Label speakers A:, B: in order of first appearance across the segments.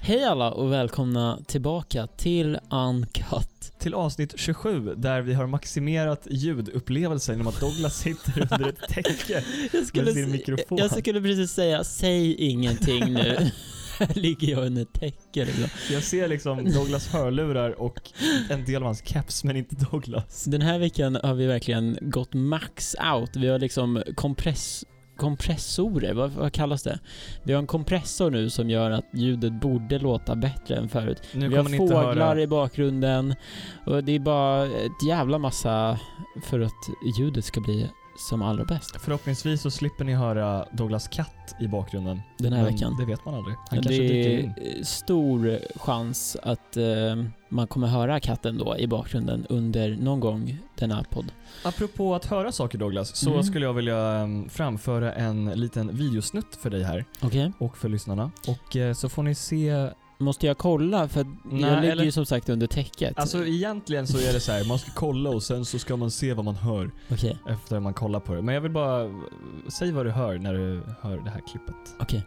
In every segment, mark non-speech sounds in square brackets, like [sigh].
A: Hej alla och välkomna tillbaka till Uncut.
B: Till avsnitt 27 där vi har maximerat ljudupplevelsen genom att Douglas sitter under ett täcke.
A: [laughs] Jag
B: Med sin
A: s-
B: mikrofon.
A: jag skulle precis säga, säg ingenting nu. [laughs] Här ligger jag under ett täcke liksom.
B: Jag ser liksom Douglas hörlurar och en del av hans keps men inte Douglas.
A: Så Den här veckan har vi verkligen gått max out. Vi har liksom kompress, kompressorer, vad, vad kallas det? Vi har en kompressor nu som gör att ljudet borde låta bättre än förut.
B: Nu
A: vi
B: kommer
A: har
B: ni inte
A: fåglar
B: höra.
A: i bakgrunden och det är bara ett jävla massa för att ljudet ska bli som allra bäst
B: Förhoppningsvis så slipper ni höra Douglas katt i bakgrunden.
A: den här
B: men
A: veckan.
B: Det vet man aldrig. Mm. Han kanske dyker
A: det
B: in.
A: är stor chans att eh, man kommer höra katten då i bakgrunden under någon gång denna podd.
B: Apropå att höra saker Douglas, så
A: Mm.
B: skulle jag vilja em, framföra en liten videosnutt för dig här
A: Okej?
B: och för lyssnarna. Och eh, så får ni se
A: Måste jag kolla? För att
B: Nej,
A: jag ligger
B: eller-
A: ju som sagt under täcket.
B: Alltså egentligen så är det så här, man ska kolla och sen så ska man se vad man hör
A: Okej,
B: efter man kollar på det. Men jag vill bara, säg vad du hör när du hör det här klippet.
A: okej.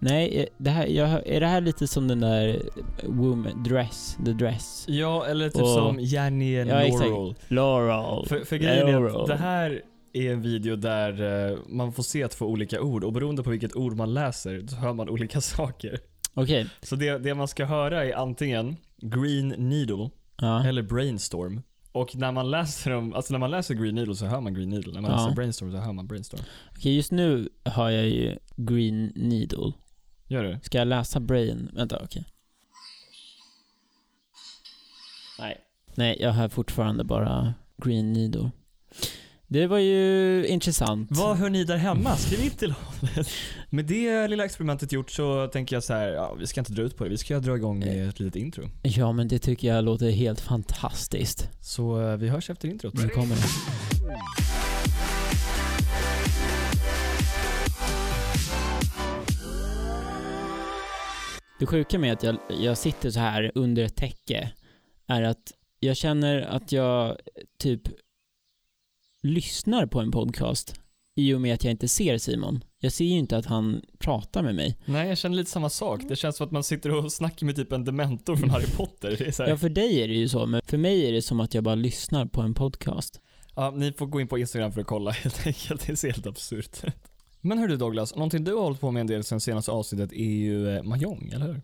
A: Nej, eh, det här, jag, hör- är det här lite som den där Woman Dress, The Dress?
B: Ja, eller typ
A: Och-
B: som Janni and
A: Ja, exakt.
B: Laurel.
A: Laurel.
B: För, för grejen är
A: Laurel.
B: att det här är en video där eh, man får se två olika ord och beroende på vilket ord man läser så hör man [laughs] olika saker.
A: Okej.
B: Så det, det man ska höra är antingen Green Needle
A: Ja.
B: eller Brainstorm. Och när man läser dem, alltså när man läser Green Needle så hör man Green Needle. När man
A: Ja.
B: läser Brainstorm så hör man Brainstorm.
A: Okej, just nu har jag ju Green Needle.
B: Gör du?
A: Ska jag läsa Brain? Vänta, okej.
B: Nej.
A: Nej, jag har fortfarande bara Green Needle. Det var ju intressant.
B: Vad hör ni där hemma? Skriv in till oss. Med det lilla experimentet gjort så tänker jag så här, ja, vi ska inte dra ut på det. Vi ska dra igång med ett litet intro.
A: Ja, men det tycker jag låter helt fantastiskt.
B: Så eh, vi hörs efter introt.
A: Nu kommer det. Det sjuka med att jag, jag sitter så här under ett täcke är att jag känner att jag typ lyssnar på en podcast i och med att jag inte ser Simon. Jag ser ju inte att han pratar med mig.
B: Nej, jag känner lite samma sak. Det känns som att man sitter och snackar med typ en dementor från Harry Potter. Det är så här,
A: Ja,
B: ja.
A: för dig är det ju så, men för mig är det som att jag bara lyssnar på en podcast.
B: ni får gå in på Instagram för att kolla helt enkelt. Det ser helt absurt ut. Men hör du Douglas, någonting du har hållit på med en del sen senaste avsnittet är ju eh, Mahjong, eller hur?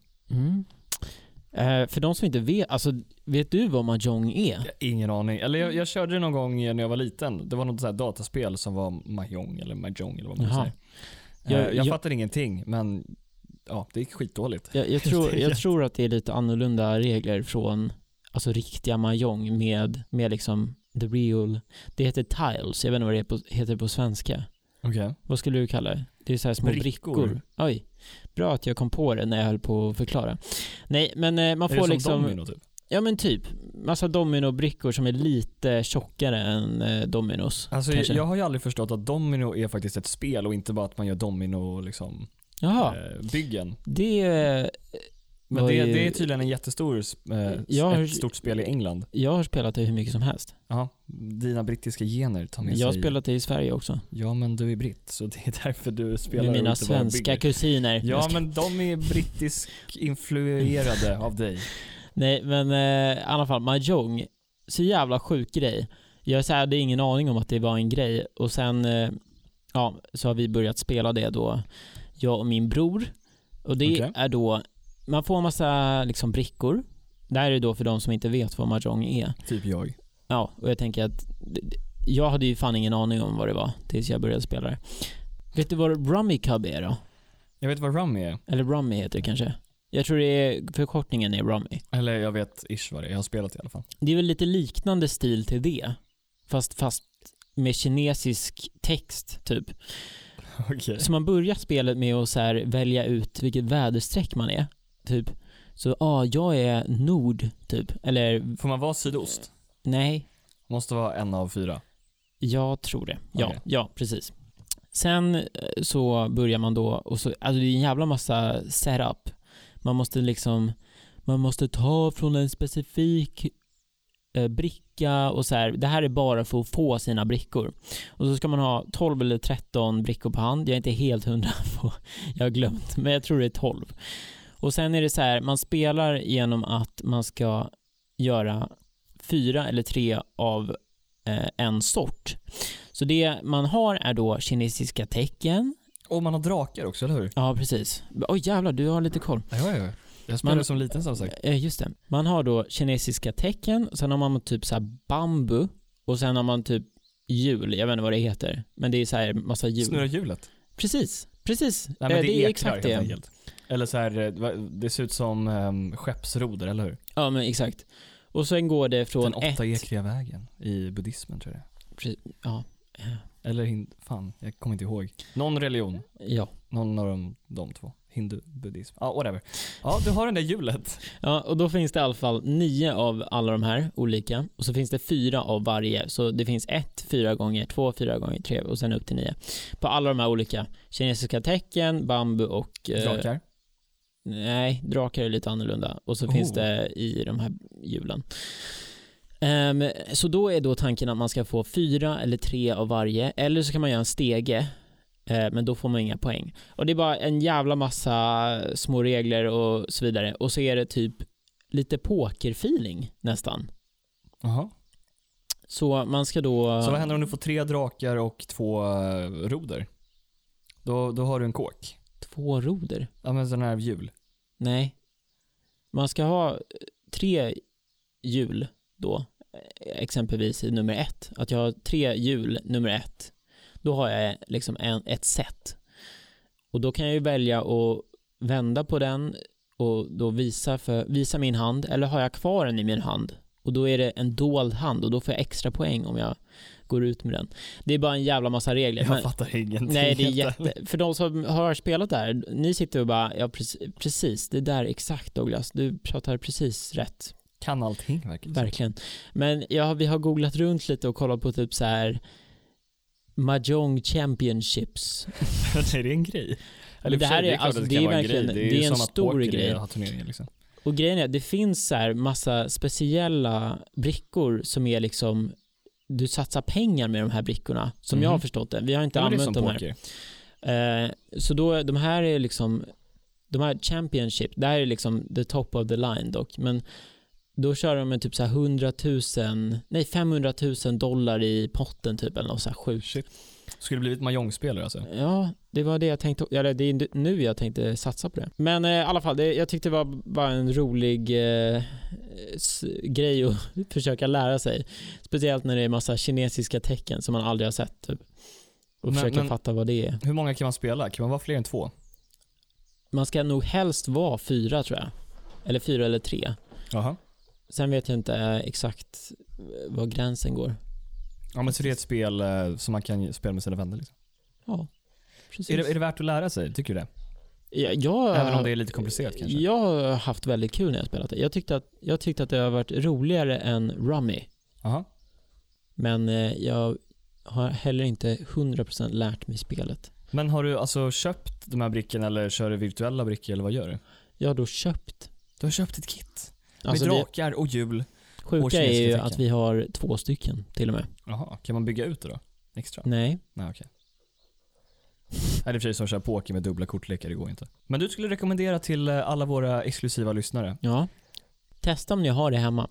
A: Eh, för de som inte vet, alltså vet du vad mahjong är?
B: Jag har Ingen aning. Eller jag, jag körde det någon gång eh, när jag var liten. Det var något så här dataspel som var Mahjong eller Mahjong eller vad man
A: Jaha.
B: säger.
A: Jag-
B: Jag, jag,
A: jag-
B: fattade ingenting, men ja, [laughs] det gick skitdåligt.
A: Jag, jag, tror, jag
B: Jätte-
A: tror att det är lite annorlunda regler från alltså, riktiga mahjong med, med liksom the real, det heter tiles, jag vet inte vad det är på, heter på svenska.
B: Okej.
A: Vad skulle du kalla det? Det är så här små brickor.
B: Brickor.
A: Oj, bra att jag kom på det när jag höll på att förklara. Nej, men eh, man
B: Är det
A: får
B: som
A: liksom...
B: domino typ?
A: Ja men typ, massa dominobrickor som är lite tjockare än eh, dominos.
B: Alltså,
A: kanske.
B: jag har ju aldrig förstått att domino är faktiskt ett spel och inte bara att man gör domino liksom,
A: Jaha,
B: eh, byggen.
A: det... eh,
B: Men
A: var
B: det,
A: ju-
B: det är typ- tydligen en jättestor, s- eh,
A: Jag har-
B: ett stort spel i England.
A: Jag har spelat det hur mycket som helst.
B: Ja, dina brittiska gener tar med
A: Jag har
B: sig.
A: spelat det i Sverige också.
B: Ja, men du är britt, så det är därför du spelar
A: Med
B: och
A: mina
B: inte bara
A: svenska
B: bygger.
A: kusiner.
B: Ja, men de är brittisk influerade av dig.
A: Nej men eh, i alla fall, mahjong. Så jävla sjuk grej. Jag så här, hade ingen aning om att det var en grej och sen eh, ja, så har vi börjat spela det då, jag och min bror. Och det
B: Okej.
A: är då, man får massa liksom brickor. Det här är då för de som inte vet vad mahjong är.
B: Typ jag.
A: Ja, och jag tänker att d- d- jag hade ju fan ingen aning om vad det var tills jag började spela det. Vet du vad Rummy Cub är då?
B: Jag vet vad rum är.
A: Eller Rummy heter det kanske? Jag tror det är, förkortningen är Rummy.
B: Eller jag vet ish vad det är. Jag har spelat i alla fall.
A: Det är väl lite liknande stil till det, fast, fast med kinesisk text typ.
B: [laughs] Okej.
A: Så man börjar spelet med att så här välja ut vilket väderstreck man är, typ. Så ja, ah, jag är nord, typ. Eller
B: Får man vara sydost?
A: nej,
B: Måste vara en av fyra.
A: Jag tror det. Ja,
B: Okej.
A: ja precis. Sen eh, så börjar man då och så, alltså det är en jävla massa setup. Man måste liksom, man måste ta från en specifik eh, bricka och så här. Det här är bara för att få sina brickor. Och så ska man ha 12 eller 13 brickor på hand. Jag är inte helt hundra [laughs] på, jag har glömt, men jag tror det är 12. Och sen är det så här, man spelar genom att man ska göra fyra eller tre av eh, en sort. Så det man har är då kinesiska tecken.
B: Och man har drakar också, eller hur?
A: Ja, precis. Oj jävlar, du har lite koll.
B: Ja, ja, ja. Jag spelade
A: Man-
B: som liten som sagt.
A: Eh, Just det. Man har då kinesiska tecken, sen har man typ så här bambu och sen har man typ hjul. Jag vet inte vad det heter, men det är så här massa hjul.
B: Snurra hjulet.
A: Precis, precis.
B: Nej, men
A: Eh,
B: det, är ekrar,
A: exakt
B: helt
A: det.
B: enkelt. Eller så här, eh, va- det ser ut som um, skeppsroder, eller hur?
A: Ja, men exakt. Och sen går det från
B: Den åtta
A: ett...
B: ekriga vägen i buddhismen tror jag det
A: Eh,
B: är. Eller hin- fan, jag kommer inte ihåg. Någon religion.
A: Ja.
B: Någon av de, de två. Hindu, buddhism. Ja, whatever. Ja, du har den
A: [laughs]
B: där hjulet.
A: ja, och då finns det i alla fall nio av alla de här olika och så finns det fyra av varje. Så det finns ett fyra gånger, två fyra gånger, tre och sen upp till nio. På alla de här olika. Kinesiska tecken, bambu och... eh,
B: Drakar.
A: Nej, drakar är lite annorlunda och så
B: Oh.
A: finns det i de här hjulen. Ehm, så då är då tanken att man ska få fyra eller tre av varje eller så kan man göra en stege eh, men då får man inga poäng. Och det är bara en jävla massa små regler och så vidare och så är det typ lite pokerfeeling nästan.
B: Jaha.
A: Så man ska då...
B: Så vad händer om du får tre drakar och två eh, roder? Då, då har du en kåk.
A: Två roder?
B: Ja, men sån här hjul.
A: Nej. Man ska ha eh, tre hjul då, eh, exempelvis i nummer ett. Att jag har tre hjul nummer ett. Då har jag liksom en, ett set. Och då kan jag ju välja att vända på den och då visa, för, visa min hand eller har jag kvar den i min hand och då är det en dold hand och då får jag extra poäng om jag går ut med den. Det är bara en jävla massa regler.
B: Jag
A: men-
B: fattar ingenting.
A: Nej, det är
B: helt ärligt.
A: jätte... För de som har spelat där, ni sitter och bara, ja preci- precis, det där är exakt Douglas, du pratar precis rätt,
B: Kan allting verkligen.
A: verkligen. Men ja, vi har googlat runt lite och kollat på typ så här Mahjong Championships.
B: [laughs] det är en grej.
A: Men det
B: i och för
A: här
B: sig,
A: är-
B: klart
A: alltså,
B: att
A: det är
B: kan vara
A: verkligen-
B: grej.
A: det är
B: ju
A: en
B: som att
A: stor
B: poker är
A: grej.
B: att ha turneringar, liksom.
A: Och grejen är, att det finns så här massa speciella brickor som är liksom, du satsar pengar med de här brickorna, som jag har
B: Mhm.
A: förstått det. Vi har inte
B: Ja, men det är
A: använt
B: som
A: de här.
B: poker.
A: Eh, så då, de här är liksom, de här Championship, det här är liksom the top of the line dock, men då kör de med typ så här 100 000, nej 500 000 dollar i potten typ eller något så här sjukt.
B: Shit. Skulle blivit mahjongspelare alltså.
A: Ja, det var det jag tänkte, eller det är nu jag tänkte satsa på det. Men eh, i alla fall, det, jag tyckte det var bara en rolig eh, s- grej att [laughs] försöka lära sig. Speciellt när det är massa kinesiska tecken som man aldrig har sett typ. Och
B: Men-
A: försöka
B: men-
A: fatta vad det är.
B: Hur många kan man spela? Kan man vara fler än två?
A: Man ska nog helst vara fyra tror jag. Eller fyra eller tre.
B: Jaha.
A: Sen vet jag inte eh, exakt eh, var gränsen går.
B: Ja, men så det är ett spel eh, som man kan spela med sina vänner. Liksom.
A: Ja, precis.
B: Är, det, är det värt att lära sig? Tycker du det?
A: Ja, jag,
B: Även om det är lite komplicerat kanske?
A: Jag har haft väldigt kul när jag spelat det. Jag tyckte att, jag tyckte att det har varit roligare än Rummy.
B: Jaha.
A: Men eh, jag har heller inte 100% lärt mig spelet.
B: Men har du alltså köpt de här brickorna eller kör du virtuella brickor eller vad gör du?
A: Jag har då köpt.
B: Du har köpt ett kit.
A: Alltså
B: med
A: det
B: drakar och hjul.
A: sjuka är
B: kinesiska
A: ju
B: tecken.
A: att vi har två stycken till och med.
B: Jaha, kan man bygga ut det då? Extra?
A: Nej.
B: Nej okej. Nej, det är i och för sig som att köra poker med dubbla kortlekar, det går inte. Men du skulle rekommendera till eh, alla våra exklusiva lyssnare.
A: Ja. Testa om ni har det hemma.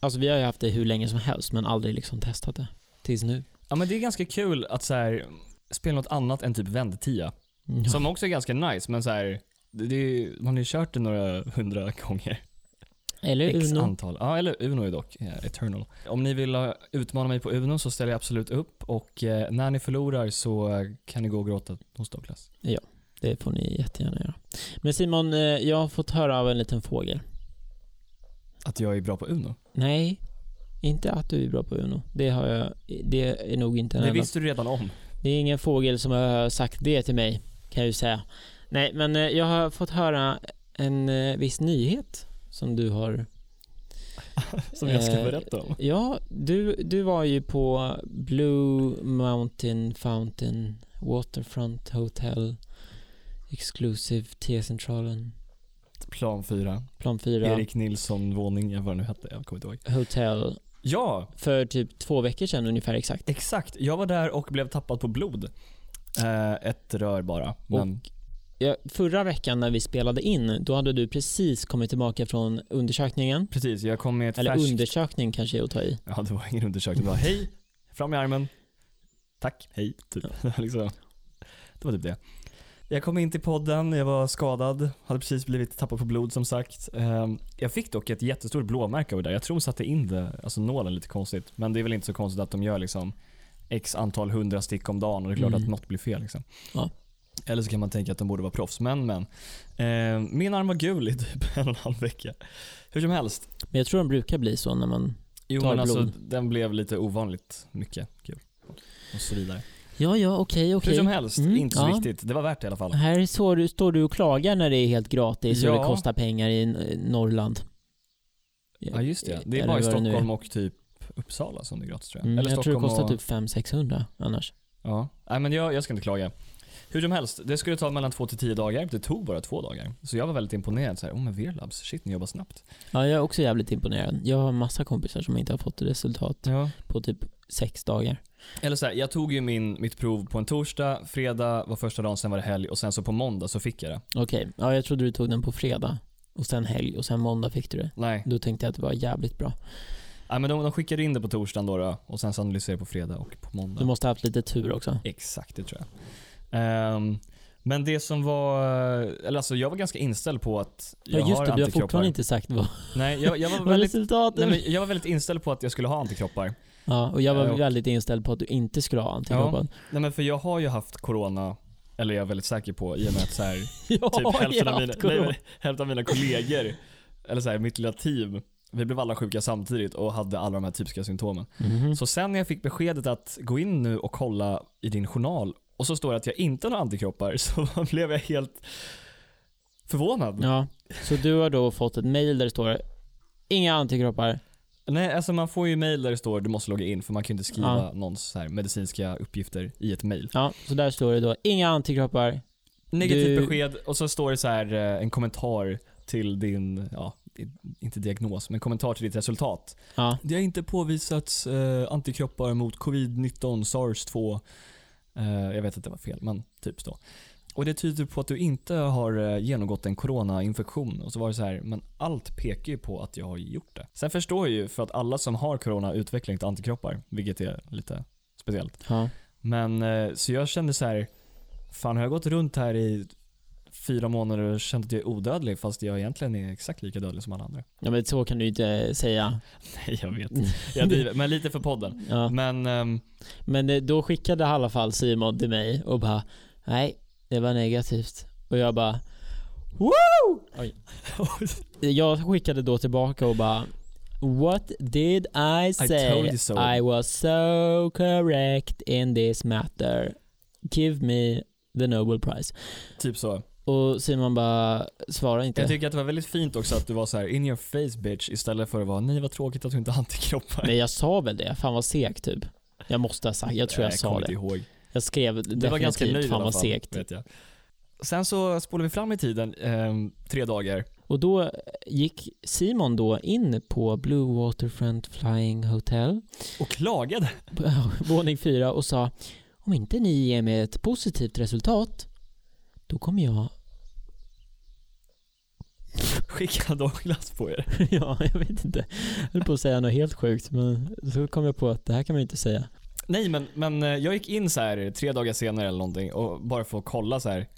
A: Alltså vi har ju haft det hur länge som helst men aldrig liksom testat det. Tills nu.
B: Ja men det är ganska kul att så här, spela något annat än typ vändtia.
A: Ja.
B: Som också är ganska nice men så här, det, det, är- man har ju kört det några hundra gånger.
A: Eller
B: X
A: Uno.
B: antal. Ja eller Uno är dock, eh, Eternal. Om ni vill eh, utmana mig på Uno så ställer jag absolut upp och eh, när ni förlorar så eh, kan ni gå och gråta hos Douglas.
A: Det får ni jättegärna göra. Men Simon, eh, jag har fått höra av en liten fågel.
B: Att jag är bra på Uno.
A: Nej, inte att du är bra på Uno. Det har jag, det är nog inte en
B: Det
A: enda.
B: visste du redan om.
A: Det är ingen fågel som har sagt det till mig, kan jag ju säga. Nej, men eh, jag har fått höra en eh, viss nyhet som du har
B: [laughs] Som jag ska
A: Eh,
B: berätta om.
A: Ja, du, du var ju på Blue Mountain Fountain Waterfront Hotel Exclusive T-centralen
B: Plan 4.
A: Plan 4
B: Erik Nilsson våning, jag vad det nu hette, jag kommer inte ihåg.
A: Hotel
B: Ja,
A: För typ två veckor sedan ungefär exakt.
B: exakt. Jag var där och blev tappad på blod. Eh, ett rör bara. Men,
A: Ja, förra veckan när vi spelade in, då hade du precis kommit tillbaka från undersökningen.
B: precis, jag kom med ett
A: Eller
B: färskt...
A: undersökning kanske är att ta i.
B: Ja, det var ingen undersökning. Det var hej, fram med armen. Tack, hej, [laughs] typ. liksom. Det var typ det. Jag kom in till podden, jag var skadad, hade precis blivit tappad på blod som sagt. Ehm, Jag fick dock ett jättestort blåmärke av det där. Jag tror de satte in det, alltså nålen lite konstigt. Men det är väl inte så konstigt att de gör liksom x antal hundra stick om dagen och det är klart
A: Mm.
B: att något blir fel. Liksom.
A: Ja.
B: Eller så kan man tänka att de borde vara proffs, men men. Ehm, min arm var gul i typ [laughs] en och en halv vecka. Hur som helst,
A: Men jag tror de brukar bli så när man...
B: Jo
A: Tar
B: men alltså
A: blod.
B: den blev lite ovanligt mycket kul. Och så vidare.
A: Ja, ja, okej, okej.
B: Hur som helst,
A: Mm,
B: inte så
A: ja.
B: viktigt. Det var värt det i alla fall.
A: Här så du, står du och klagar när det är helt gratis och
B: Ja.
A: det kostar pengar i N- Norrland.
B: Ja just det. Det är
A: Eller
B: bara i
A: vad det nu är.
B: Stockholm och typ Uppsala som det är gratis tror jag.
A: Mm,
B: Eller
A: jag tror det
B: Stockholm
A: kostar
B: och...
A: typ 500-600 annars.
B: Ja. Nej men jag, jag ska inte klaga. Hur som helst, det skulle ta mellan två till tio dagar. Det tog bara två dagar. Så jag var väldigt imponerad. Så här, oh men Verlabs, shit ni jobbar snabbt.
A: Ja, jag är också jävligt imponerad. Jag har massa kompisar som inte har fått resultat
B: Ja.
A: på typ sex dagar.
B: Eller så här, jag tog ju min, mitt prov på en torsdag, fredag var första dagen, sen var det helg och sen så på måndag så fick jag det.
A: Okej, ja, jag trodde du tog den på fredag och sen helg och sen måndag fick du det.
B: Nej.
A: Då tänkte jag att det var jävligt bra.
B: Nej men de, de skickade in det på torsdagen då, då och sen så analyserade jag på fredag och på måndag.
A: Du måste ha haft lite tur också.
B: Exakt, det tror jag. Ehm, men det som var... Eller alltså jag var ganska inställd på att
A: Ja,
B: jag
A: just
B: har
A: det, du har
B: antikroppar.
A: fortfarande inte sagt vad,
B: Nej,
A: [laughs]
B: jag, jag, var
A: vad
B: väldigt,
A: resultatet
B: nej men jag var väldigt inställd på att jag skulle ha antikroppar.
A: Ja, och jag var
B: Ja, och-
A: väldigt inställd på att du inte skulle ha antikroppar.
B: Nej men för jag har ju haft corona, eller jag är väldigt säker på, i och med
A: [laughs]
B: att så här, typ
A: Ja, jag har
B: hälften, av mina,
A: haft
B: nej,
A: corona.
B: men, hälften av mina kollegor, eller så här, mitt lilla team, vi blev alla sjuka samtidigt och hade alla de här typiska symptomen.
A: Mhm.
B: Så sen när jag fick beskedet att gå in nu och kolla i din journal och så står det att jag inte har några antikroppar [laughs] så blev jag helt förvånad.
A: Ja, så du har då fått ett mail där det står Inga antikroppar.
B: Nej, alltså man får ju mail där det står du måste logga in för man kan ju inte skriva
A: Ja.
B: någons så här medicinska uppgifter i ett mail.
A: Ja, så där står det då inga antikroppar.
B: Negativt
A: Du-
B: besked och så står det så här eh, en kommentar till din, ja, i- inte diagnos, men kommentar till ditt resultat.
A: Ja,
B: Det har inte påvisats eh, antikroppar mot covid-19, sars-2. Eh, jag vet att det var fel, men typ så. Och det tyder på att du inte har eh, genomgått en coronainfektion. Och så var det så här, men allt pekar ju på att jag har gjort det. Sen förstår jag ju för att alla som har corona utvecklar inte antikroppar, vilket är lite speciellt.
A: ja.
B: Men eh, så jag kände så här, fan har jag gått runt här i fyra månader och känt att jag är odödlig fast jag egentligen är exakt lika dödlig som alla andra. [laughs]
A: ja men så kan du ju inte säga.
B: Nej, jag vet. Jag driver, men lite för podden.
A: [laughs] Ja.
B: Men ehm,
A: Men eh, då skickade i alla fall Simon till mig och bara Nej, det var negativt. Och jag bara Woo! Oj. [laughs] Jag skickade då tillbaka och bara What did I say?
B: told you so."
A: I was so correct in this matter. Give me the Nobel Prize.
B: typ så.
A: Och Simon bara svarar inte.
B: Jag tycker att det var väldigt fint också att du var så här in your face bitch istället för att vara nej vad tråkigt att du inte har antikroppar.
A: Nej jag sa väl det, fan vad seg typ. Jag måste ha sagt, jag tror jag,
B: Nej,
A: sa
B: kommer inte
A: det.
B: Ihåg.
A: Jag skrev definitivt,
B: Det var ganska nöjd i
A: fan
B: alla
A: vad
B: fall,
A: segt.
B: vet jag. Sen så spolar vi fram i tiden ehm, tre dagar.
A: Och då gick Simon då in på Blue Waterfront Flying Hotel, [laughs]
B: Och klagade. [laughs]
A: på våning fyra och sa om inte ni ger mig ett positivt resultat, då kommer jag...
B: Skicka Douglas på er.
A: [laughs] ja, jag vet inte. Jag höll på att säga något helt sjukt, men så kom jag på att det här kan man ju inte säga.
B: Nej men, men eh, jag gick in så här tre dagar senare eller någonting och bara för att kolla så här.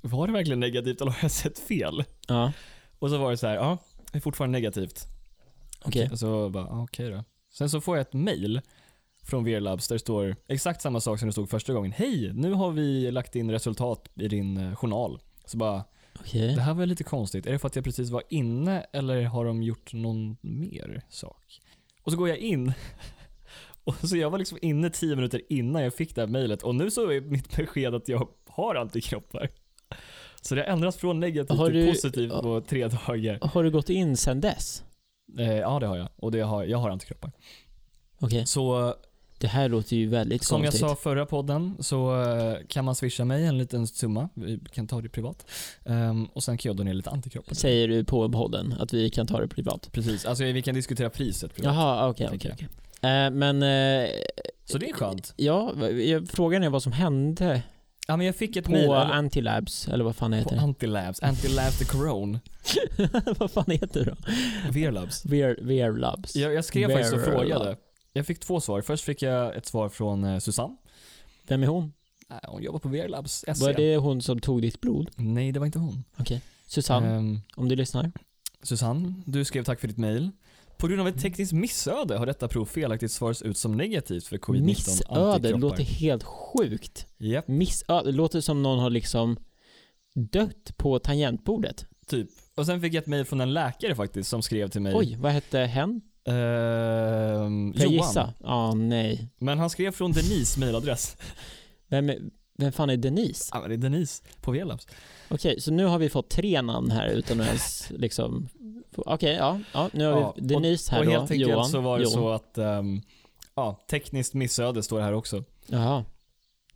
B: Var det verkligen negativt eller har jag sett fel?
A: Ja,
B: Och så var det så här, ja, det är fortfarande negativt.
A: okej.
B: Och så bara, ah, okej då. Sen så får jag ett mail från Verlabs där det står exakt samma sak som det stod första gången. Hej, nu har vi lagt in resultat i din eh, journal. Så bara,
A: Okej.
B: det här var lite konstigt. Är det för att jag precis var inne eller har de gjort någon mer sak? Och så går jag in. [laughs] Och så jag var liksom inne tio minuter innan jag fick det här mejlet och nu så är mitt besked att jag har antikroppar. Så det har ändrats från negativt
A: Har
B: till
A: du-
B: positivt på tre dagar.
A: Har du gått in sen dess?
B: Eh, ja, det har jag. Och det har, jag har antikroppar.
A: Okej.
B: Så
A: Det här låter ju väldigt
B: Som jag
A: konstigt.
B: sa förra podden så eh, kan man swisha mig en liten summa, vi kan ta det privat. Ehm, och sen kan jag donera lite antikroppar.
A: Säger du på podden att vi kan ta det privat?
B: Precis, alltså vi kan diskutera priset privat.
A: Jaha, okej. okej,
B: tänker jag.
A: okej. Eh, men... eh,
B: Så det är skönt.
A: Ja, va- jag- frågan är vad som hände
B: Ja men jag fick ett
A: på
B: mejl. eller-
A: Antilabs, eller vad fan det
B: På
A: heter.
B: Antilabs, Antilabs
A: [laughs]
B: the Corona,
A: vad fan heter det då?
B: Verlabs.
A: VR, VR Labs.
B: Jag, jag skrev faktiskt och
A: Verlab.
B: frågade. Jag fick två svar. Först fick jag ett svar från eh, Susanne.
A: Vem är hon?
B: Nej, Hon jobbar på Verlabs SE.
A: Var det hon som tog ditt blod?
B: Nej, det var inte hon.
A: Susanne,
B: Ehm,
A: om du lyssnar.
B: Susanne, du skrev tack för ditt mejl. På grund av
A: Mm.
B: ett tekniskt missöde har detta prov felaktigt svarats ut som negativt för covid-19
A: Missöde, det låter helt sjukt.
B: Japp,
A: Missöde, det låter som någon har liksom dött på tangentbordet.
B: typ. Och sen fick jag ett mejl från en läkare faktiskt som skrev till mig.
A: Oj, vad hette hen?
B: Ehm,
A: Får jag
B: Johan.
A: gissa? Ja, nej.
B: Men han skrev från Denise mejladress.
A: Vem, är- vem fan är Denise?
B: [laughs] Ja, men det är Denise på Velabs.
A: Okej, så nu har vi fått tre namn här utan att ens liksom... få- Okej, ja, ja. Nu har
B: Ja,
A: vi Denise här
B: och
A: då.
B: helt enkelt
A: Johan.
B: så var det
A: Johan.
B: så att, ehm, ja, tekniskt missöde står det här också.
A: Jaha.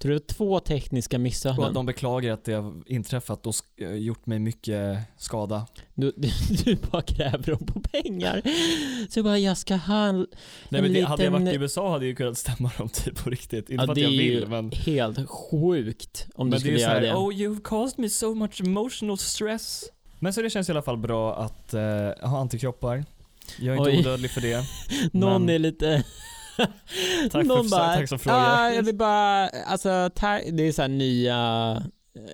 A: Tror du det var två tekniska
B: Och att
A: missöden?
B: de beklagar att det har inträffat och sk- eh, gjort mig mycket skada.
A: Du, du, du bara kräver dem på pengar. Så jag bara, jag ska ha en...
B: Nej men det, hade jag
A: liten-
B: varit i USA hade jag ju kunnat stämma dem [laughs] typ på riktigt. Inte
A: Ja,
B: för att
A: det
B: jag
A: är ju-
B: vill men.
A: Helt sjukt om du
B: men det är
A: skulle
B: ju
A: göra
B: såhär,
A: det.
B: oh you've caused me so much emotional stress. Men så det känns i alla fall bra att eh, ha antikroppar. Jag är inte
A: Oj.
B: odödlig för det.
A: [laughs] Någon
B: men-
A: är lite...
B: [laughs] Tack
A: Någon
B: för,
A: bara,
B: tack som frågar.
A: Ja, jag vill bara, alltså, tack. det är så här nya,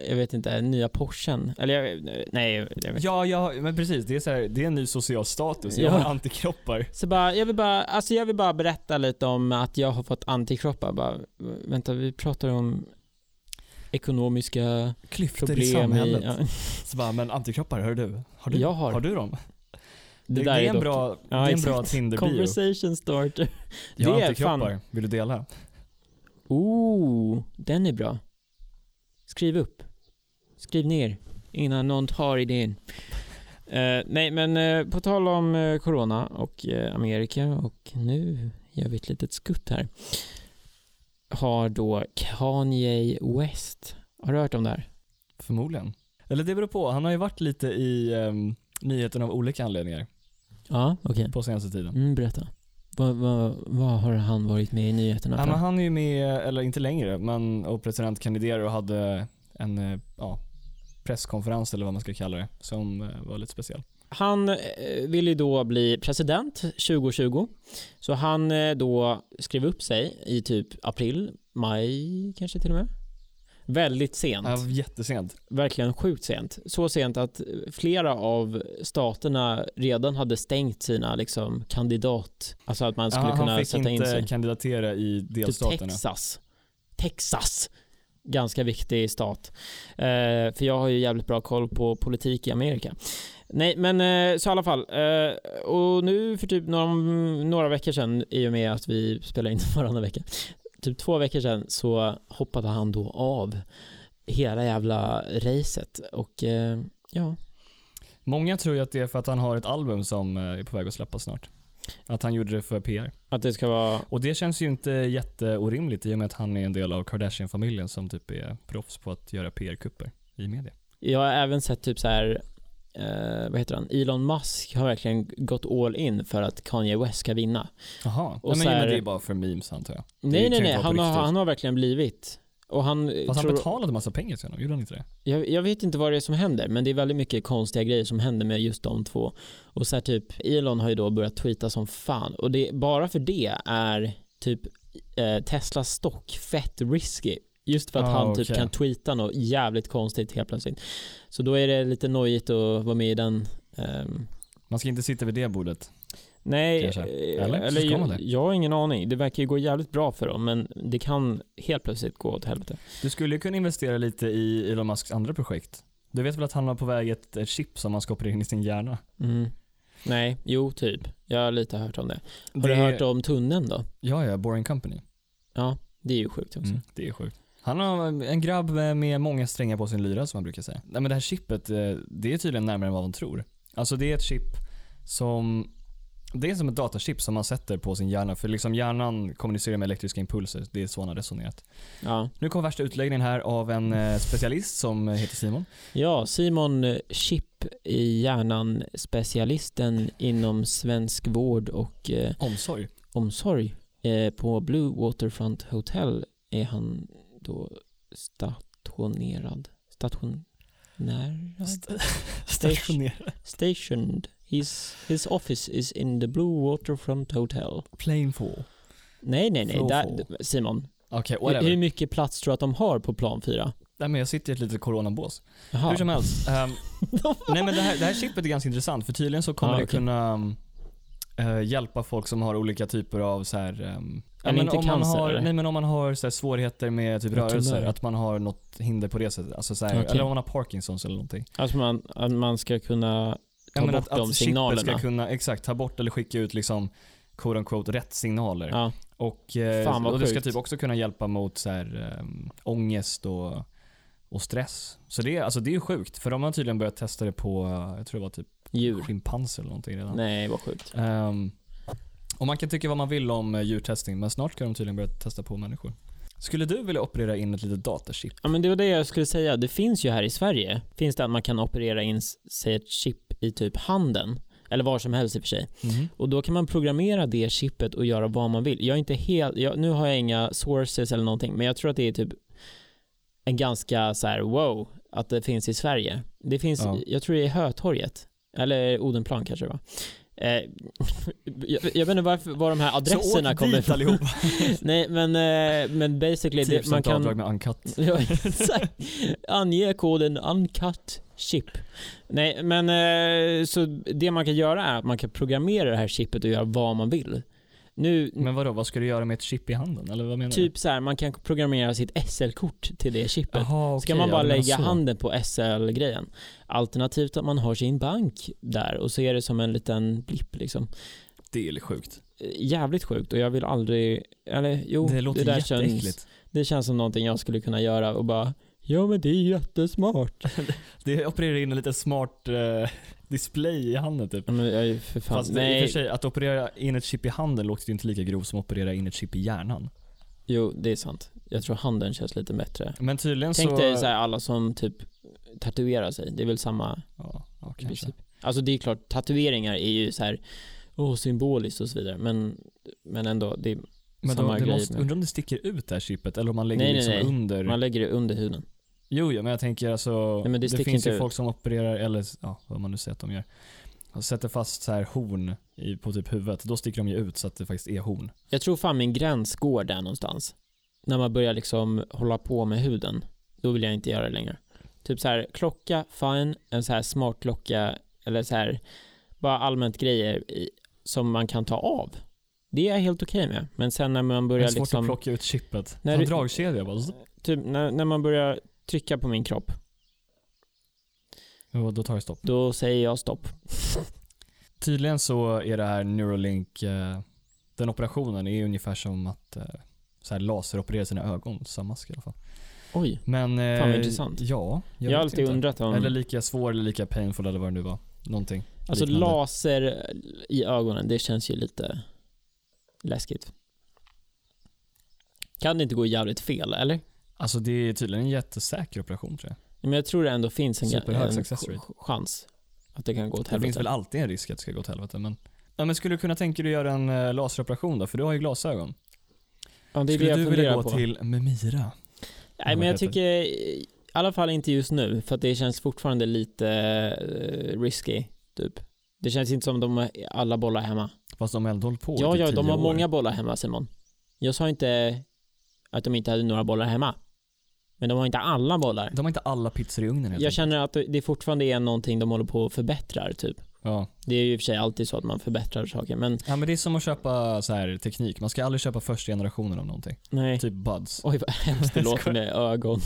A: jag vet inte, nya Porschen. Eller jag, nej, jag vet inte.
B: Ja, ja, men precis. Det är, så här, det är en ny social status. Jag
A: Ja.
B: har antikroppar.
A: Så bara, jag vill bara, alltså jag vill bara berätta lite om att jag har fått antikroppar. Bara, vänta, vi pratar om ekonomiska
B: Klyftor
A: problem
B: i samhället.
A: ja. [laughs]
B: Så bara, men antikroppar, hör du? Har du,
A: Jag har.
B: har du dem?
A: Det
B: Det, det,
A: där är
B: är en
A: dock-
B: bra,
A: Ja,
B: det är en
A: exakt.
B: bra Tinder-bio.
A: Conversation starter.
B: Jag har
A: det är
B: antikroppar. Vill du dela?
A: Oh, den är bra. Skriv upp. Skriv ner innan någon tar idén. Eh, nej, men eh, på tal om eh, corona och eh, Amerika och nu gör vi ett litet skutt här. Har då Kanye West, har du hört om det här?
B: Förmodligen. Eller det beror på. Han har ju varit lite i um, nyheterna av olika anledningar
A: Ja, okej.
B: på senaste tiden.
A: Mm, berätta. Vad vad- vad har han varit med i nyheterna
B: Ja,
A: för?
B: men han är ju med, eller inte längre, men och presidentkandiderar och hade en eh, ja, presskonferens eller vad man ska kalla det, som eh, var lite speciell.
A: Han eh, ville ju då bli president 2020. Så han eh, då skrev upp sig i typ april, maj kanske till och med. Väldigt sent.
B: Ja, jättesent.
A: Verkligen sjukt sent. Så sent att eh, flera av staterna redan hade stängt sina liksom, kandidat... Alltså att man
B: Ja,
A: skulle
B: han
A: kunna
B: fick
A: sätta in
B: inte
A: sig.
B: kandidatera i
A: Typ
B: delstaterna.
A: Texas. Texas. Ganska viktig stat. Eh, för jag har ju jävligt bra koll på politik i Amerika. Nej, men eh, så i alla fall. Eh, och nu för typ några, några veckor sedan, i och med att vi spelar in [laughs] varannan vecka, typ två veckor sedan så hoppade han då av hela jävla racet och eh, ja,
B: Många tror ju att det är för att han har ett album som eh, är på väg att släppas snart. Att han gjorde det för PR.
A: att det ska vara
B: Och det känns ju inte jätteorimligt i och med att han är en del av Kardashian-familjen som typ är proffs på att göra PR-kupper i media.
A: Jag har även sett typ så här, eh, vad heter han, Elon Musk har verkligen gått all in för att Kanye West ska vinna.
B: Jaha,
A: Och
B: Nej,
A: så
B: men, ja,
A: här-
B: men det är bara för memes antar jag. Det
A: Nej
B: kan
A: nej
B: ju
A: nej,
B: inte vara
A: han
B: på
A: har,
B: riktigt.
A: han har verkligen blivit. Och han eh,
B: Fast han
A: tror,
B: betalade massa pengar till honom, gjorde han inte det?
A: jag, jag vet inte vad det är som händer men det är väldigt mycket konstiga grejer som händer med just de två. Och så här typ, Elon har ju då börjat tweeta som fan och det, bara för det är typ eh, Teslas stock fett risky. Just för att
B: Ah,
A: han typ
B: okej.
A: kan tweeta något jävligt konstigt helt plötsligt. Så då är det lite nojigt att vara med i den ehm,
B: Man ska inte sitta vid det bordet.
A: Nej,
B: Kanske.
A: eh,
B: Eller? Så ska man
A: jag,
B: det.
A: jag har ingen aning. Det verkar ju gå jävligt bra för dem, men det kan helt plötsligt gå åt helvete.
B: Du skulle ju kunna investera lite i Elon Musks andra projekt. Du vet väl att han har på väg ett eh, chip som man ska operera in i sin hjärna?
A: Mm. Nej, jo typ. Jag har lite hört om det. Har
B: det...
A: du hört om tunneln då?
B: Ja, ja, Boring Company.
A: Ja, det är ju sjukt också.
B: Mm, det är sjukt. Han har en grabb med med många strängar på sin lyra som man brukar säga. Nej men det här chippet, eh, det är tydligen närmare än vad de tror. Alltså det är ett chip som Det är som ett datachip som man sätter på sin hjärna, för liksom hjärnan kommunicerar med elektriska impulser. Det är så han har resonerat.
A: Ja.
B: Nu kommer värsta utläggningen här av en eh, specialist som eh, heter Simon.
A: ja, Simon eh, Chip i hjärnan, specialisten inom svensk vård och eh,
B: Omsorg.
A: omsorg eh, på Blue Waterfront Hotel är han då stationerad. Stationär?
B: [laughs] Stationerad.
A: Stationed. His, his office is in the Blue Waterfront Hotel.
B: Planefall.
A: Nej, nej, nej.
B: Flow
A: Där,
B: fall.
A: Simon,
B: Okej,
A: hur-
B: whatever.
A: hur mycket plats tror du att de har på plan fyra?
B: Nej, men jag sitter i ett litet coronabås.
A: Jaha.
B: Hur
A: [laughs]
B: som helst. ehm, nej, men det, här, det här chippet är ganska intressant för tydligen så kommer
A: Ja,
B: det
A: okej.
B: kunna ehm, eh, hjälpa folk som har olika typer av så här, ehm, ja,
A: Men inte
B: om man
A: cancer,
B: har,
A: eller?
B: Nej men om man har så här, svårigheter med typ
A: Med
B: rörelser,
A: tumörer.
B: att man har något hinder på det sättet. Alltså, så här,
A: Okej.
B: Eller om man har Parkinsons eller någonting.
A: Alltså man, att man ska kunna
B: Ja,
A: Ta
B: men
A: bort
B: att,
A: de
B: att
A: signalerna.
B: chippet ska kunna, exakt, ta bort eller skicka ut liksom quote unquote rätt signaler.
A: ja,
B: Och, eh,
A: Fan, vad
B: och det ska
A: sjukt.
B: typ också kunna hjälpa mot så här, um, ångest och, och stress. Så det, är- alltså, det är ju sjukt, för de har tydligen börjat testa det på, eh, jag tror det var typ
A: djur.
B: schimpanser eller någonting redan.
A: Mm. Nej, vad sjukt.
B: Ehm, och man kan tycka vad man vill om eh, djurtestning, men snart ska de tydligen börja testa på människor. Skulle du vilja operera in ett litet datachip?
A: Ja, men det var det jag skulle säga. Det finns ju här i Sverige, finns det att man kan operera in, s- säg ett chip i typ handen, eller var som helst i och för sig. Och då kan man programmera det chippet och göra vad man vill. Jag är inte helt, jag, nu har jag inga sources eller någonting, men jag tror att det är typ en ganska så här wow, att det finns i Sverige. Det finns,
B: Ja.
A: jag tror det är Hötorget, eller Odenplan kanske det var. Eh, [laughs] jag, jag vet inte varför, var de här adresserna
B: Så åk
A: kommer
B: dit Typ allihopa.
A: [laughs] Nej men, eh, men basically, det, man
B: 10% avdrag
A: kan
B: med uncut.
A: [laughs] ja, exakt. ange koden uncut chip. Nej men eh, så det man kan göra är att man kan programmera det här chipet och göra vad man vill. Nu,
B: Men vadå, vad ska du göra med ett chip i handen? Eller vad menar du?
A: Mm. typ så här, man kan programmera sitt SL-kort till det chipet.
B: Aha,
A: Så kan
B: okej,
A: man
B: ja,
A: bara
B: du menar
A: lägga
B: så.
A: handen på SL-grejen. Alternativt att man har sin bank där och så är det som en liten blipp liksom.
B: Det är sjukt.
A: Eh, Jävligt sjukt och jag vill aldrig, eller jo,
B: det låter
A: där känns
B: jätteäckligt.
A: Det känns som någonting jag skulle kunna göra och bara Ja men det är jättesmart.
B: Det opererar in en liten smart eh, display i handen typ.
A: Ja, Men jag är ju för fan,
B: Fast Nej. i och
A: nej.
B: för sig, att operera in ett chip i handen låter ju inte lika grovt som att operera in ett chip i hjärnan.
A: Jo det är sant. Jag tror handen känns lite bättre.
B: Men tydligen
A: Tänk
B: så...
A: dig så här, alla som typ tatuerar sig, det är väl samma
B: Ja, ja, kanske.
A: princip. Alltså det är klart, tatueringar är ju så här åh symboliskt och så vidare men, men ändå, det är,
B: Men
A: Samma
B: då, det
A: grej
B: måste,
A: med-
B: undrar om det sticker ut det här chipet eller om man lägger
A: Nej, nej,
B: liksom
A: nej.
B: under.
A: man lägger det under huden.
B: Jo, ja, men jag tänker alltså,
A: Nej, men det
B: det,
A: sticker
B: finns
A: inte
B: ju
A: ut.
B: folk som opererar, eller ja, vad man nu säger att de gör, och sätter fast så här horn i, på typ huvudet. Då sticker de ju ut så att det faktiskt är horn.
A: Jag tror fan min gräns går där någonstans. När man börjar liksom hålla på med huden. Då vill jag inte göra det längre. Typ så här klocka, fine. En så här smart klocka eller så här bara allmänt grejer i, som man kan ta av. Det är jag helt okej med. Men sen när man
B: Det är
A: börjar
B: svårt att
A: liksom,
B: plocka ut chipet.
A: När
B: När en
A: du-
B: dragkedja bara.
A: typ när, när man börjar trycka på min kropp,
B: Och då tar det stopp.
A: då säger jag stopp. [laughs]
B: Tydligen så är det här Neuralink, eh, den operationen är ungefär som att eh, så här laseroperera sina ögon, samma mask i alla fall.
A: Oj,
B: Men... Eh,
A: Fan, vad intressant.
B: Ja,
A: jag,
B: jag,
A: har
B: vet
A: alltid
B: inte.
A: undrat om,
B: Eller lika svår eller lika painful eller vad det nu var. Någonting.
A: alltså
B: liknande.
A: laser i ögonen, det känns ju lite läskigt. Kan det inte gå jävligt fel, eller?
B: Alltså det är tydligen en jättesäker operation tror jag.
A: Men jag tror det ändå finns en, en,
B: Superhög
A: en
B: success rate.
A: ch- chans att det kan gå åt
B: Det finns väl
A: helvete.
B: alltid en risk att det ska gå åt helvete men Ja, men skulle du kunna tänka dig att göra en eh, laseroperation då? För du har ju glasögon.
A: Ja, det är det
B: skulle
A: jag
B: du vilja
A: funderar
B: gå
A: på.
B: till Memira?
A: Nej, men jag tycker i alla fall inte just nu, för att det känns fortfarande lite eh, risky, typ. Det känns inte som de har alla bollar hemma.
B: Fast de har ändå hållit på
A: ja,
B: i typ
A: ja, de
B: tio
A: har
B: år.
A: många bollar hemma, Simon. Jag sa inte att de inte hade några bollar hemma. Men de har inte alla bollar.
B: De har inte alla pizzor i ugnen helt
A: Jag
B: enkelt.
A: känner att det fortfarande är någonting de håller på och förbättrar, typ.
B: Ja.
A: Det är ju i och för sig alltid så att man förbättrar saker, men
B: Ja men det är som att köpa så här, teknik, man ska aldrig köpa första generationen av någonting.
A: nej.
B: Typ buds.
A: Oj vad hemskt det
B: [laughs] Jag
A: låter
B: skojar.
A: med ögon.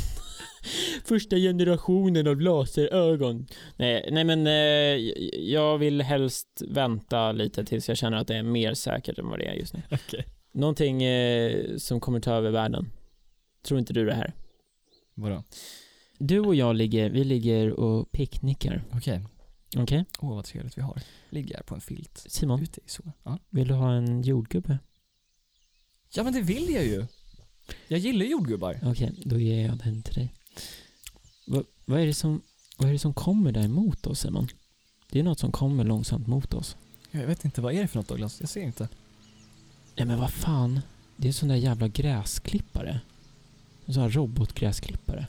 A: [laughs] Första generationen av laserögon. Nej, nej men eh, jag vill helst vänta lite tills jag känner att det är mer säkert än vad det är just nu.
B: [laughs] Okej.
A: Någonting eh, som kommer ta över världen. Tror inte du det här?
B: Vadå?
A: Du och jag ligger, vi ligger och picknickar.
B: Okej.
A: Okej.
B: Åh, vad trevligt vi har. Ligger här på en filt.
A: Simon,
B: Ute i solen. Ja.
A: vill du ha en jordgubbe?
B: ja, men det vill jag ju. Jag gillar ju jordgubbar.
A: Okej, då ger jag den till dig. Va, vad, är det som, vad är det som kommer där emot oss, Simon? Det är något som kommer långsamt mot oss.
B: Jag vet inte, vad är det för något Douglas? Jag ser inte.
A: Nej men vad fan. Det är en sån där jävla gräsklippare. En sån här robotgräsklippare.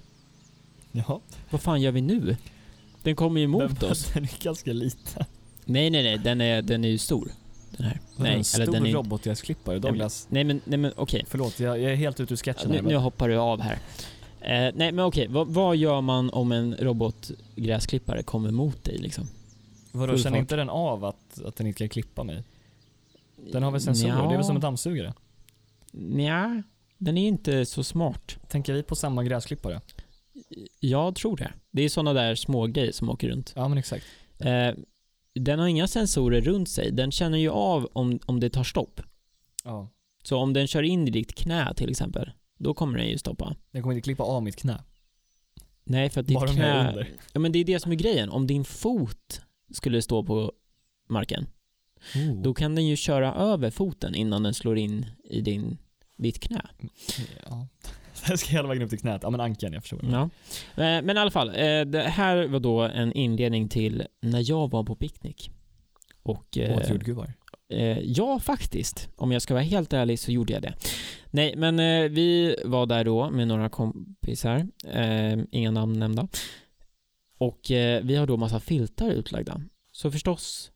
B: Jaha.
A: Vad fan gör vi nu? Den kommer ju emot
B: den,
A: oss.
B: Den är ganska liten.
A: [laughs] Nej, nej, nej. Den är, den är ju stor. Den här.
B: Nej,
A: Nej,
B: en stor
A: eller den är...
B: robotgräsklippare, Douglas.
A: Nej men, nej men okej.
B: Förlåt, jag, jag är helt ute ur sketchen
A: Nu,
B: här.
A: nu
B: men-
A: hoppar du av här. Eh, nej men okej, vad, vad gör man om en robotgräsklippare kommer mot dig liksom?
B: Vadå,
A: full
B: känner
A: fart.
B: inte den av att, att den inte kan klippa mig? Den har väl sensorer?
A: Nja.
B: Det är väl som en dammsugare?
A: Nja, den är inte så smart.
B: Tänker vi på samma gräsklippare?
A: Jag tror det. Det är såna där små grejer som åker runt.
B: Ja, men exakt.
A: Eh, den har inga sensorer runt sig. Den känner ju av om, om det tar stopp.
B: Ja.
A: Så om den kör in i ditt knä till exempel, då kommer den ju stoppa.
B: Den kommer inte klippa av mitt knä.
A: Nej, för att
B: Bara
A: ditt
B: om jag är
A: knä...
B: under.
A: Ja, men det är det som är grejen. Om din fot skulle stå på marken, då kan den ju köra över foten innan den slår in i din, ditt knä.
B: Ja. [laughs] Den ska hela vägen upp till knät. Ja, men ankan, jag förstår.
A: Ja. Eh, Men i alla fall, eh, det här var då en inledning till när jag var på picknick. Och, eh,
B: Åt jordgubbar.
A: eh, ja, faktiskt. Om jag ska vara helt ärlig så gjorde jag det. Nej, men eh, vi var där då med några kompisar, eh, inga namn nämnda. Och eh, vi har då massa filtar utlagda. Så förstås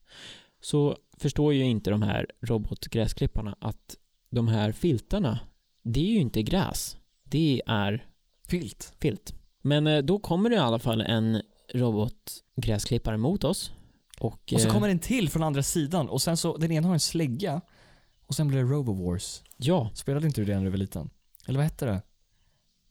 A: så förstår ju inte de här robotgräsklipparna att de här filtarna, det är ju inte gräs. Det är
B: Filt.
A: filt. Men eh, då kommer det i alla fall en robotgräsklippare mot oss. Och,
B: Och så
A: eh,
B: kommer den till från andra sidan och sen så, den ena har en slägga och sen blir det Robowars.
A: Ja,
B: Spelade inte du det när du var liten? Eller vad hette det?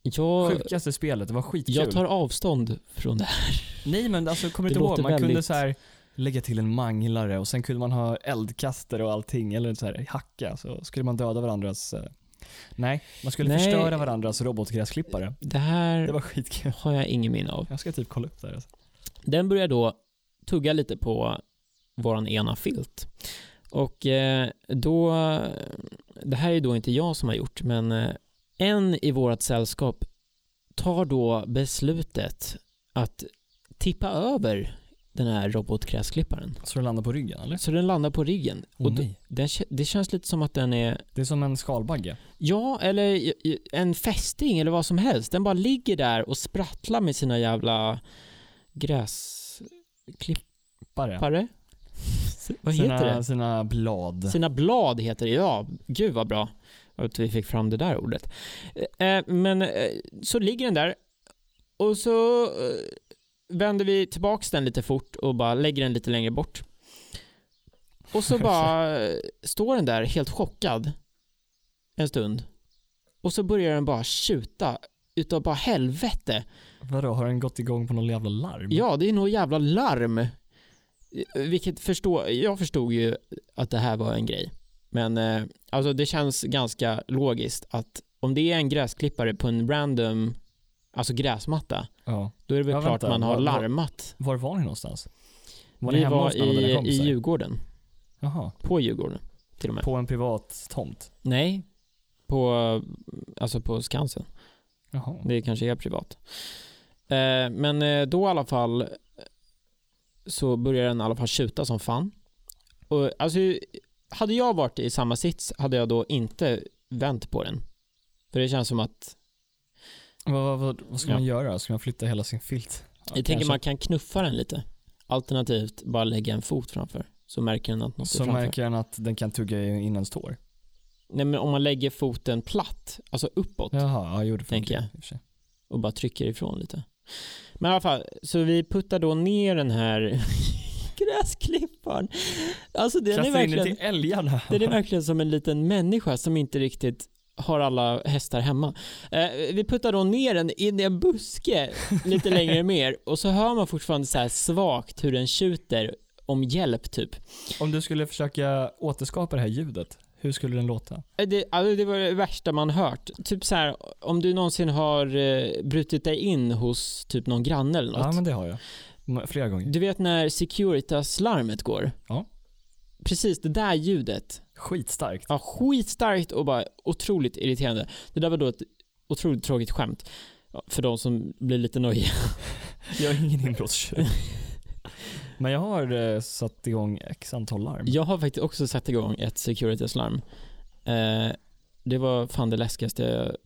A: jag,
B: Sjukaste spelet, det var skitkul.
A: jag tar avstånd från det här.
B: Nej men alltså kommer
A: Det
B: du inte ihåg?
A: låter
B: Man kunde
A: väldigt-
B: så här lägga till en manglare och sen kunde man ha eldkastare och allting eller så här hacka så skulle man döda varandras eh, Nej, man skulle
A: Nej.
B: förstöra varandras robotgräsklippare.
A: Det här
B: Det var skitkul.
A: har jag ingen minne av.
B: Jag ska typ kolla upp det här. alltså.
A: Den börjar då tugga lite på våran ena filt. Och eh, då, det här är då inte jag som har gjort, men eh, en i vårt sällskap tar då beslutet att tippa över den här robotgräsklipparen.
B: Så den landar på ryggen eller?
A: Så den landar på ryggen.
B: Åh
A: och d-
B: nej.
A: den, kä- det känns lite som att den är,
B: Det är som en skalbagge.
A: ja, eller i- i- en fästing eller vad som helst. Den bara ligger där och sprattlar med sina jävla gräsklippare.
B: Bara.
A: Vad
B: sina,
A: heter det?
B: Sina blad.
A: Sina blad heter det. Ja, gud vad bra att vi fick fram det där ordet. Eh, men eh, så ligger den där och så eh, vänder vi tillbaks den lite fort och bara lägger den lite längre bort. Och så bara eh, står den där helt chockad en stund och så börjar den bara tjuta utav bara helvete.
B: Vadå, har den gått igång på någon jävla larm?
A: Ja, det är nog jävla larm. Eh, Vilket förstå, jag förstod ju att det här var en grej. Men eh, alltså det känns ganska logiskt att om det är en gräsklippare på en random, alltså gräsmatta,
B: ja.
A: då är det väl
B: Ja,
A: klart
B: vänta.
A: man har
B: Vad- vad-
A: larmat.
B: Var var ni någonstans? Var ni
A: Vi
B: hemma
A: var
B: hos någon av
A: i,
B: dina
A: i
B: kompisar?
A: Djurgården,
B: Jaha.
A: på Djurgården till och med.
B: På en privat tomt?
A: Nej, på, alltså på Skansen.
B: Jaha.
A: Det kanske är privat. Eh, men eh, då i alla fall eh, så börjar den i alla fall tjuta som fan. Och, alltså, hade jag varit i samma sits hade jag då inte vänt på den. För det känns som att,
B: Vad, vad, vad, vad ska
A: Ja.
B: man göra? Ska man flytta hela sin filt? Ja,
A: jag tänker
B: kanske.
A: man kan knuffa den lite. Alternativt bara lägga en fot framför. Så märker den att något är
B: Så
A: framför.
B: märker den att den kan tugga in ens tår.
A: Nej men om man lägger foten platt, alltså uppåt.
B: Jaha, ja, jo, det
A: Tänker jag.
B: i och för sig.
A: och bara trycker ifrån lite. Men i alla fall, så vi puttar då ner den här [laughs] gräsklipparen. Alltså den är,
B: Kastar in den
A: verkligen,
B: till älgarna.
A: den är verkligen som en liten människa som inte riktigt har alla hästar hemma. Eh, vi puttar då ner den in i en buske lite
B: [laughs]
A: längre mer och så hör man fortfarande så här svagt hur den tjuter om hjälp typ.
B: Om du skulle försöka återskapa det här ljudet, Hur skulle den låta?
A: Det, alltså det var det värsta man hört. Typ så här, om du någonsin har eh, brutit dig in hos typ någon granne eller något.
B: Ja, men det har jag. M- Flera gånger.
A: Du vet när Securitas-larmet går?
B: Ja.
A: Precis, det där ljudet.
B: Skitstarkt.
A: Ja, skitstarkt och bara otroligt irriterande. Det där var då ett otroligt tråkigt skämt. Ja, För de som blir lite nöjiga.
B: Jag är ingen inbrottstjuv. [laughs] men jag har eh, satt igång x antal larm.
A: Jag har faktiskt också satt igång ett Securitas-larm. Eh, det var fan det läskigaste jag...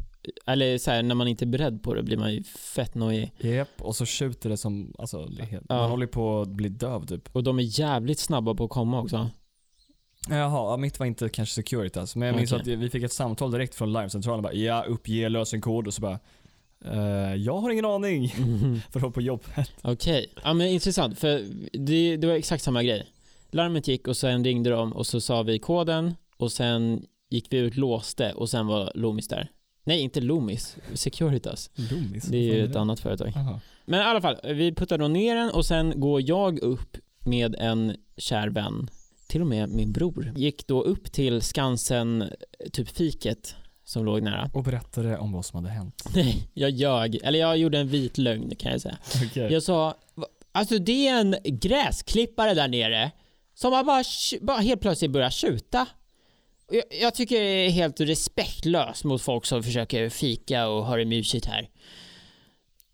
A: Eller så här, när man inte är beredd på det blir man ju fett nojig.
B: Japp, och så skjuter det som, alltså, det är helt-
A: Ja.
B: man håller på att bli döv typ.
A: Och de är jävligt snabba på att komma också.
B: Jaha, ja, mitt var inte kanske Securitas, men jag minns
A: Okej.
B: att vi fick ett samtal direkt från larmcentralen. Bara, ja, uppge lösenkod och så bara, eh, jag har ingen aning.
A: Mhm.
B: För att vara på jobbet.
A: Okej, ja men intressant för det, det var exakt samma grej. Larmet gick och sen ringde de och så sa vi koden och sen gick vi ut, låste och sen var Loomis där. Nej, inte Loomis, Securitas.
B: Loomis?
A: Det är ju ett annat företag.
B: Aha.
A: Men i alla fall, vi puttar då ner den och sen går jag upp med en kär vän, till och med min bror, gick då upp till Skansen, eh, typ fiket som låg nära.
B: Och berättade om vad som hade hänt.
A: Nej, jag ljög, eller jag gjorde en vit lögn kan jag säga.
B: Okej.
A: Jag sa, "Va- alltså det är en gräsklippare där nere som har bara, tj- bara helt plötsligt börjat skjuta. Och Jag, jag tycker det är helt respektlöst mot folk som försöker fika och ha det mysigt här.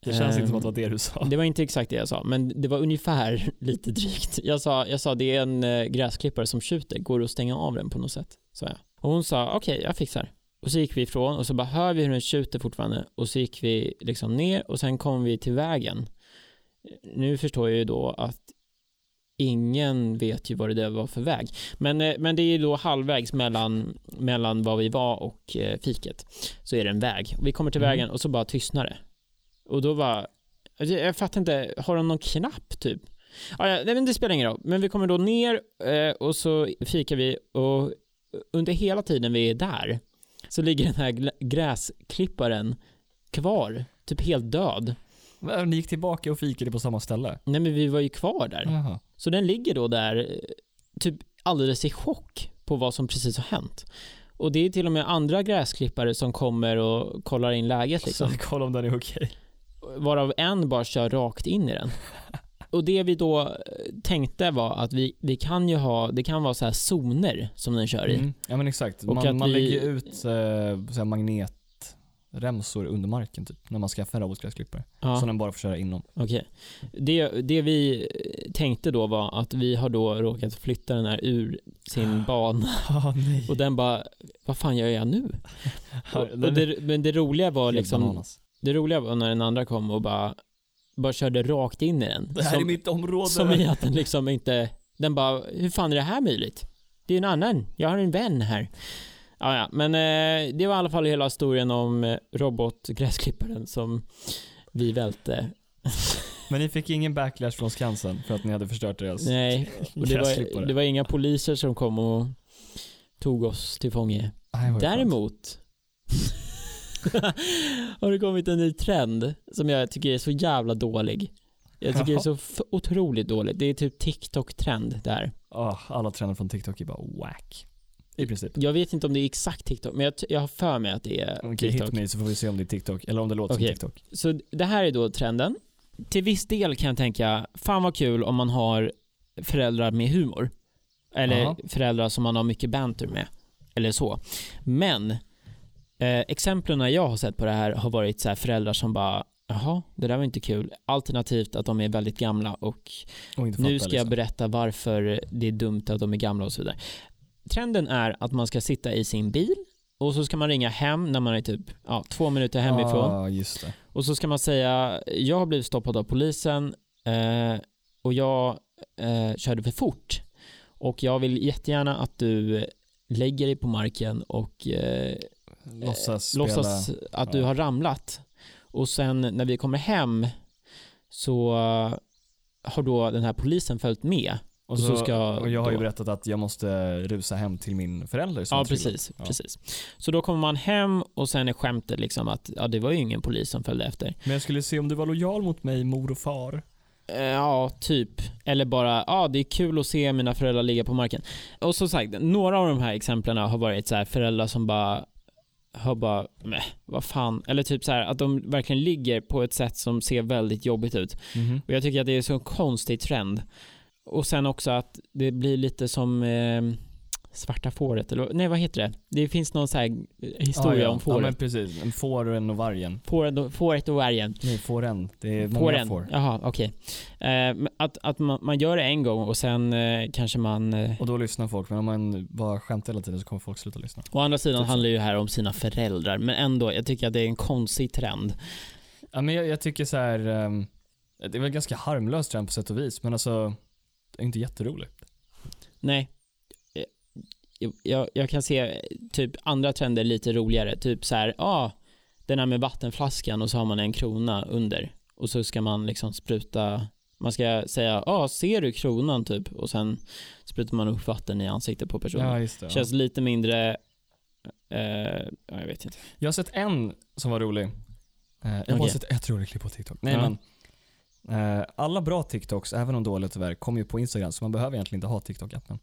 B: Det känns
A: Ehm,
B: inte som att det var det du sa.
A: Det var inte exakt det jag sa, men det var ungefär [laughs] lite drygt. Jag sa, jag sa det är en eh, gräsklippare som skjuter, går det att stänga av den på något sätt? Sa jag. Och hon sa, okej jag fixar. Och så gick vi ifrån och så bara hör vi hur den skjuter fortfarande och så gick vi liksom ner och sen kom vi till vägen. Nu förstår jag ju då att ingen vet ju vad det där var för väg. Men, eh, men det är ju då halvvägs mellan, mellan var vi var och eh, fiket. Så är det en väg. Vi kommer till
B: Mm.
A: vägen och så bara tystnar det. Och då var jag, jag fattar inte, har de någon knapp typ? Ah, ja, nej men det spelar ingen roll. Men vi kommer då ner eh, och så fikar vi och under hela tiden vi är där så ligger den här gl- gräsklipparen kvar, typ helt död.
B: Men Ni gick tillbaka och fikade på samma ställe?
A: Nej men vi var ju kvar där. Så den ligger då där, eh, typ alldeles i chock på vad som precis har hänt. Och det är till och med andra gräsklippare som kommer och kollar in läget liksom.
B: Så kolla om den är okej.
A: varav en bara kör rakt in
B: [laughs]
A: i den. Och det vi då eh, tänkte var att vi, vi kan ju ha, det kan vara så här zoner som den kör i.
B: Mm. Ja men exakt.
A: Och att
B: man man
A: vi-
B: lägger ut eh, så här magnetremsor under marken typ, när man skaffar en robotgräsklippare. Så
A: Ja,
B: den bara får köra
A: [laughs]
B: inom.
A: okej. det, det vi eh, tänkte då var att vi har då råkat flytta den här ur sin bana
B: Ah, nej.
A: [laughs] och den bara, vad fan gör jag nu? Och, och det, men det roliga var liksom, det roliga var när den andra kom och bara, bara körde rakt in i den.
B: Det här
A: Som-
B: är mitt område.
A: Som i att den liksom inte, den bara, hur fan är det här möjligt? Det är en annan, jag har en vän här. Ja, ja, men eh, det var i alla fall hela historien om eh, robotgräsklipparen som vi välte.
B: Men ni fick ingen backlash från Skansen för att ni hade förstört deras
A: Nej, och det var,
B: Alltså, gräsklippare?
A: det var inga poliser som kom och tog oss till fånge.
B: Nej, vad skönt.
A: Däremot [laughs] har det kommit en ny trend som jag tycker är så jävla dålig. Jag tycker det är så f- otroligt dåligt. Det är typ TikTok-trend där.
B: Ah, alla trender från TikTok är bara whack. I princip.
A: Jag vet inte om det är exakt TikTok, men jag, t- jag har för mig att det är
B: Okej,
A: Mm, TikTok.
B: hit me så får vi se om det är TikTok, eller om det låter
A: Okej.
B: som TikTok.
A: Så det här är då trenden. Till viss del kan jag tänka, fan vad kul om man har föräldrar med humor. Eller
B: Aha.
A: föräldrar som man har mycket banter med. Eller så. Men eh, exemplen jag har sett på det här har varit så här föräldrar som bara, jaha, det där var inte kul. Alternativt att de är väldigt gamla och
B: Och inte
A: nu
B: fattar,
A: ska jag
B: liksom.
A: berätta varför det är dumt att de är gamla och så vidare. Trenden är att man ska sitta i sin bil och så ska man ringa hem när man är typ ja, två minuter hemifrån.
B: Ja, Ah, just det.
A: Och så ska man säga, jag har blivit stoppad av polisen eh, och jag eh, körde för fort. Och jag vill jättegärna att du lägger dig på marken och eh,
B: Låtsas spela.
A: låtsas att du
B: Ja.
A: har ramlat. Och sen när vi kommer hem så eh, har då den här polisen följt med
B: Och, så,
A: ska jag
B: och jag har ju
A: då-
B: berättat att jag måste rusa hem till min förälder som
A: Ja,
B: har trillat.
A: precis,
B: Ja.
A: precis. Så då kommer man hem och sen är skämtet liksom att ja, det var ju ingen polis som följde efter.
B: Men jag skulle se om du var lojal mot mig, mor och far.
A: Eh, Ja, typ. Eller bara, ja det är kul att se mina föräldrar ligga på marken. Och som sagt, några av de här exemplen har varit så här, föräldrar som bara har bara, "Meh, vad fan. Eller typ så här, att de verkligen ligger på ett sätt som ser väldigt jobbigt ut.
B: Mhm.
A: Och jag tycker att det är så en konstig trend. Och sen också att det blir lite som eh, svarta fåret, eller vad- nej vad heter det? Det finns någon så här eh, historia
B: ja, ja.
A: om
B: Ja,
A: fåret.
B: men precis. En fåren och vargen.
A: Fåret och- Fåret och vargen.
B: Nej, fåren. Det är många
A: Fåren.
B: får.
A: Jaha, okej. Eh, men att att man, man gör det en gång och sen eh, kanske man... Eh,
B: Och då lyssnar folk, men om man bara skämtar hela tiden så kommer folk sluta lyssna.
A: å andra sidan
B: Typ så.
A: handlar ju det här om sina föräldrar, men ändå, jag tycker att det är en konstig trend.
B: Ja, men jag, jag tycker så här. ehm, det är väl ganska harmlöst trend på sätt och vis, men alltså, det är inte jätteroligt.
A: Nej. Eh, Jag, jag, jag kan se eh, typ andra trender lite roligare, typ så här, ja, ah, den här med vattenflaskan och så har man en krona under och så ska man liksom spruta man ska säga, ja ah, ser du kronan typ? Och sen sprutar man upp vatten i ansiktet på personen.
B: just det.
A: Känns lite mindre... Eh, ja, jag vet inte.
B: Jag har sett en som var rolig. Eh, jag har bara
A: Okej.
B: sett ett roligt klipp på TikTok. Nej,
A: Ja.
B: men, eh, alla bra TikToks, även om dåliga tyvärr, kommer ju på Instagram så man behöver egentligen inte ha TikTok-appen.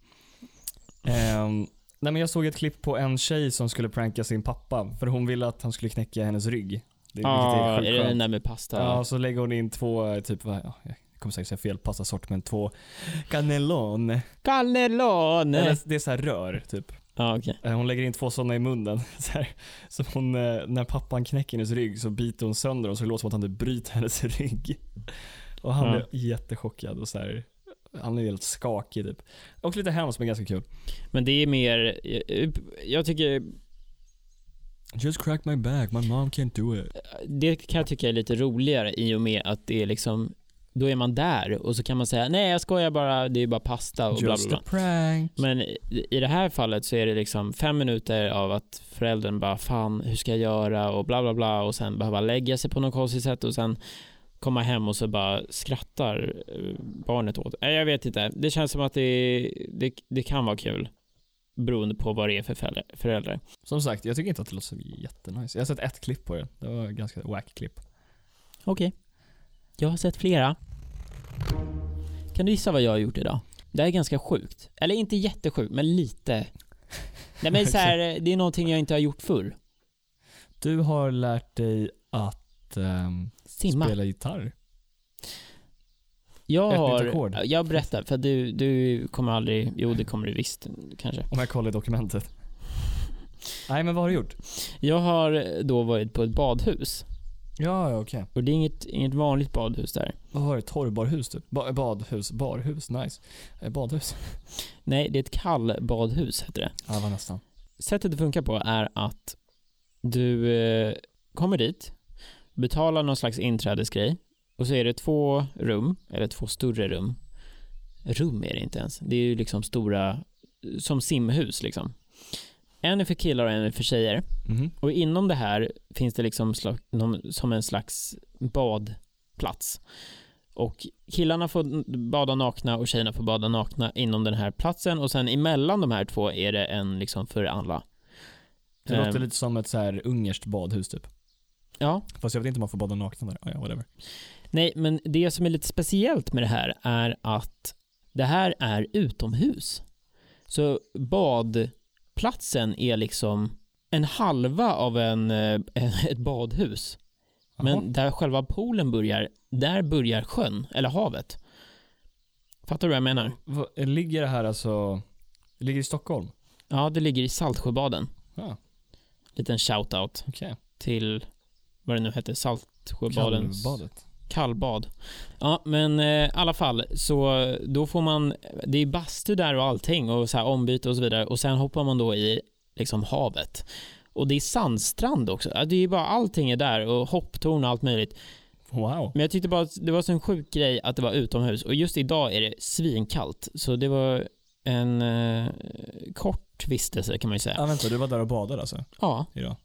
B: Ehm, nej, men jag såg ett klipp på en tjej som skulle pranka sin pappa för hon ville att han skulle knäcka hennes rygg. Det,
A: Ah, är,
B: sjukt
A: det
B: skönt.
A: den där med pasta?
B: Ja, så lägger hon in två, eh, typ, vad- ja, jag kommer säkert säga fel pastasort, men två cannellon.
A: Cannellone!
B: Eller, det är så här rör, typ.
A: Ja, okej.
B: Eh, Hon lägger in två sådana i munnen. [laughs] Så här, så hon, eh, när pappan knäcker hennes rygg så biter hon sönder dem så det låter som att han typ bryter hennes [laughs] rygg. Och han
A: Ja.
B: blev jättechockad och så här, han är helt skakig typ. Och lite hemskt men ganska kul.
A: Men det är mer, eh, jag tycker,
B: Just crack my back, my mom can't do it.
A: det kan jag tycka är lite roligare i och med att det är liksom, då är man där och så kan man säga nej jag skojar bara, det är bara pasta och bla bla
B: Just
A: bla.
B: a prank.
A: Men i i det här fallet så är det liksom fem minuter av att föräldern bara fan hur ska jag göra och bla bla bla och sen behöva lägga sig på något konstigt sätt och sen komma hem och så bara skrattar eh, barnet åt. Nej, jag vet inte. Det känns som att det, det, det kan vara kul beroende på vad det är för föräldrar- föräldrar.
B: Som sagt, jag tycker inte att det låter så jättenice. Jag har sett ett klipp på det. Det var ett ganska wack klipp.
A: Okej. Jag har sett flera. Kan du gissa vad jag har gjort idag? Det här är ganska sjukt. Eller inte jättesjukt, men lite. Nej men så [laughs] här, det är någonting jag inte har gjort förr.
B: Du har lärt dig att ehm,
A: Simma.
B: spela gitarr.
A: Jag
B: Ett
A: har,
B: nytt ackord.
A: jag berättar, för du, du kommer aldrig, jo det kommer du visst kanske.
B: Om jag kollar i dokumentet. Nej men vad har du gjort?
A: Jag har då varit på ett badhus
B: Ja, ja, okej.
A: och det är inget, inget vanligt badhus där.
B: Vad var det? Torrbarhus typ? Ba- badhus? Barhus? Nice. Eh, Badhus?
A: Nej, det är ett kallbadhus heter det.
B: Ja, det var nästan.
A: Sättet det funkar på är att du eh, kommer dit, betalar någon slags inträdesgrej och så är det två rum, eller två större rum. Rum är det inte ens, det är ju liksom stora, som simhus liksom. En är för killar och en är för tjejer.
B: Mm-hmm.
A: Och inom det här finns det liksom sla- någon- som en slags badplats. Och killarna får n- bada nakna och tjejerna får bada nakna inom den här platsen och sen emellan de här två är det en liksom för alla.
B: Det
A: Ehm,
B: låter lite som ett så här ungerskt badhus typ.
A: Ja,
B: Fast jag vet inte om man får bada nakna där. Ah, ja, whatever.
A: nej men det som är lite speciellt med det här är att det här är utomhus. Så badplatsen är liksom en halva av en, eh, [laughs] ett badhus. Men
B: Jaha.
A: där själva poolen börjar, där börjar sjön, eller havet. Fattar du vad jag menar?
B: Vad- Ligger det här alltså... det Ligger i Stockholm?
A: Ja, det ligger i Saltsjöbaden.
B: Ja,
A: Liten shout-out
B: okej.
A: till vad det nu hette, Saltsjöbadens
B: Kallbadet.
A: kallbad. Ja, men eh, i alla fall, så då får man, det är bastu där och allting och så här ombyte och så vidare och sen hoppar man då i liksom havet. Och det är sandstrand också. Ja, Det är ju bara allting är där och hopptorn och allt möjligt.
B: Wow.
A: Men jag tyckte bara att det var så en sjuk grej att det var utomhus och just idag är det svinkallt. Så det var en eh, kort vistelse kan man ju säga.
B: Ja, vänta. Du var där och badade alltså?
A: Ja,
B: Idag?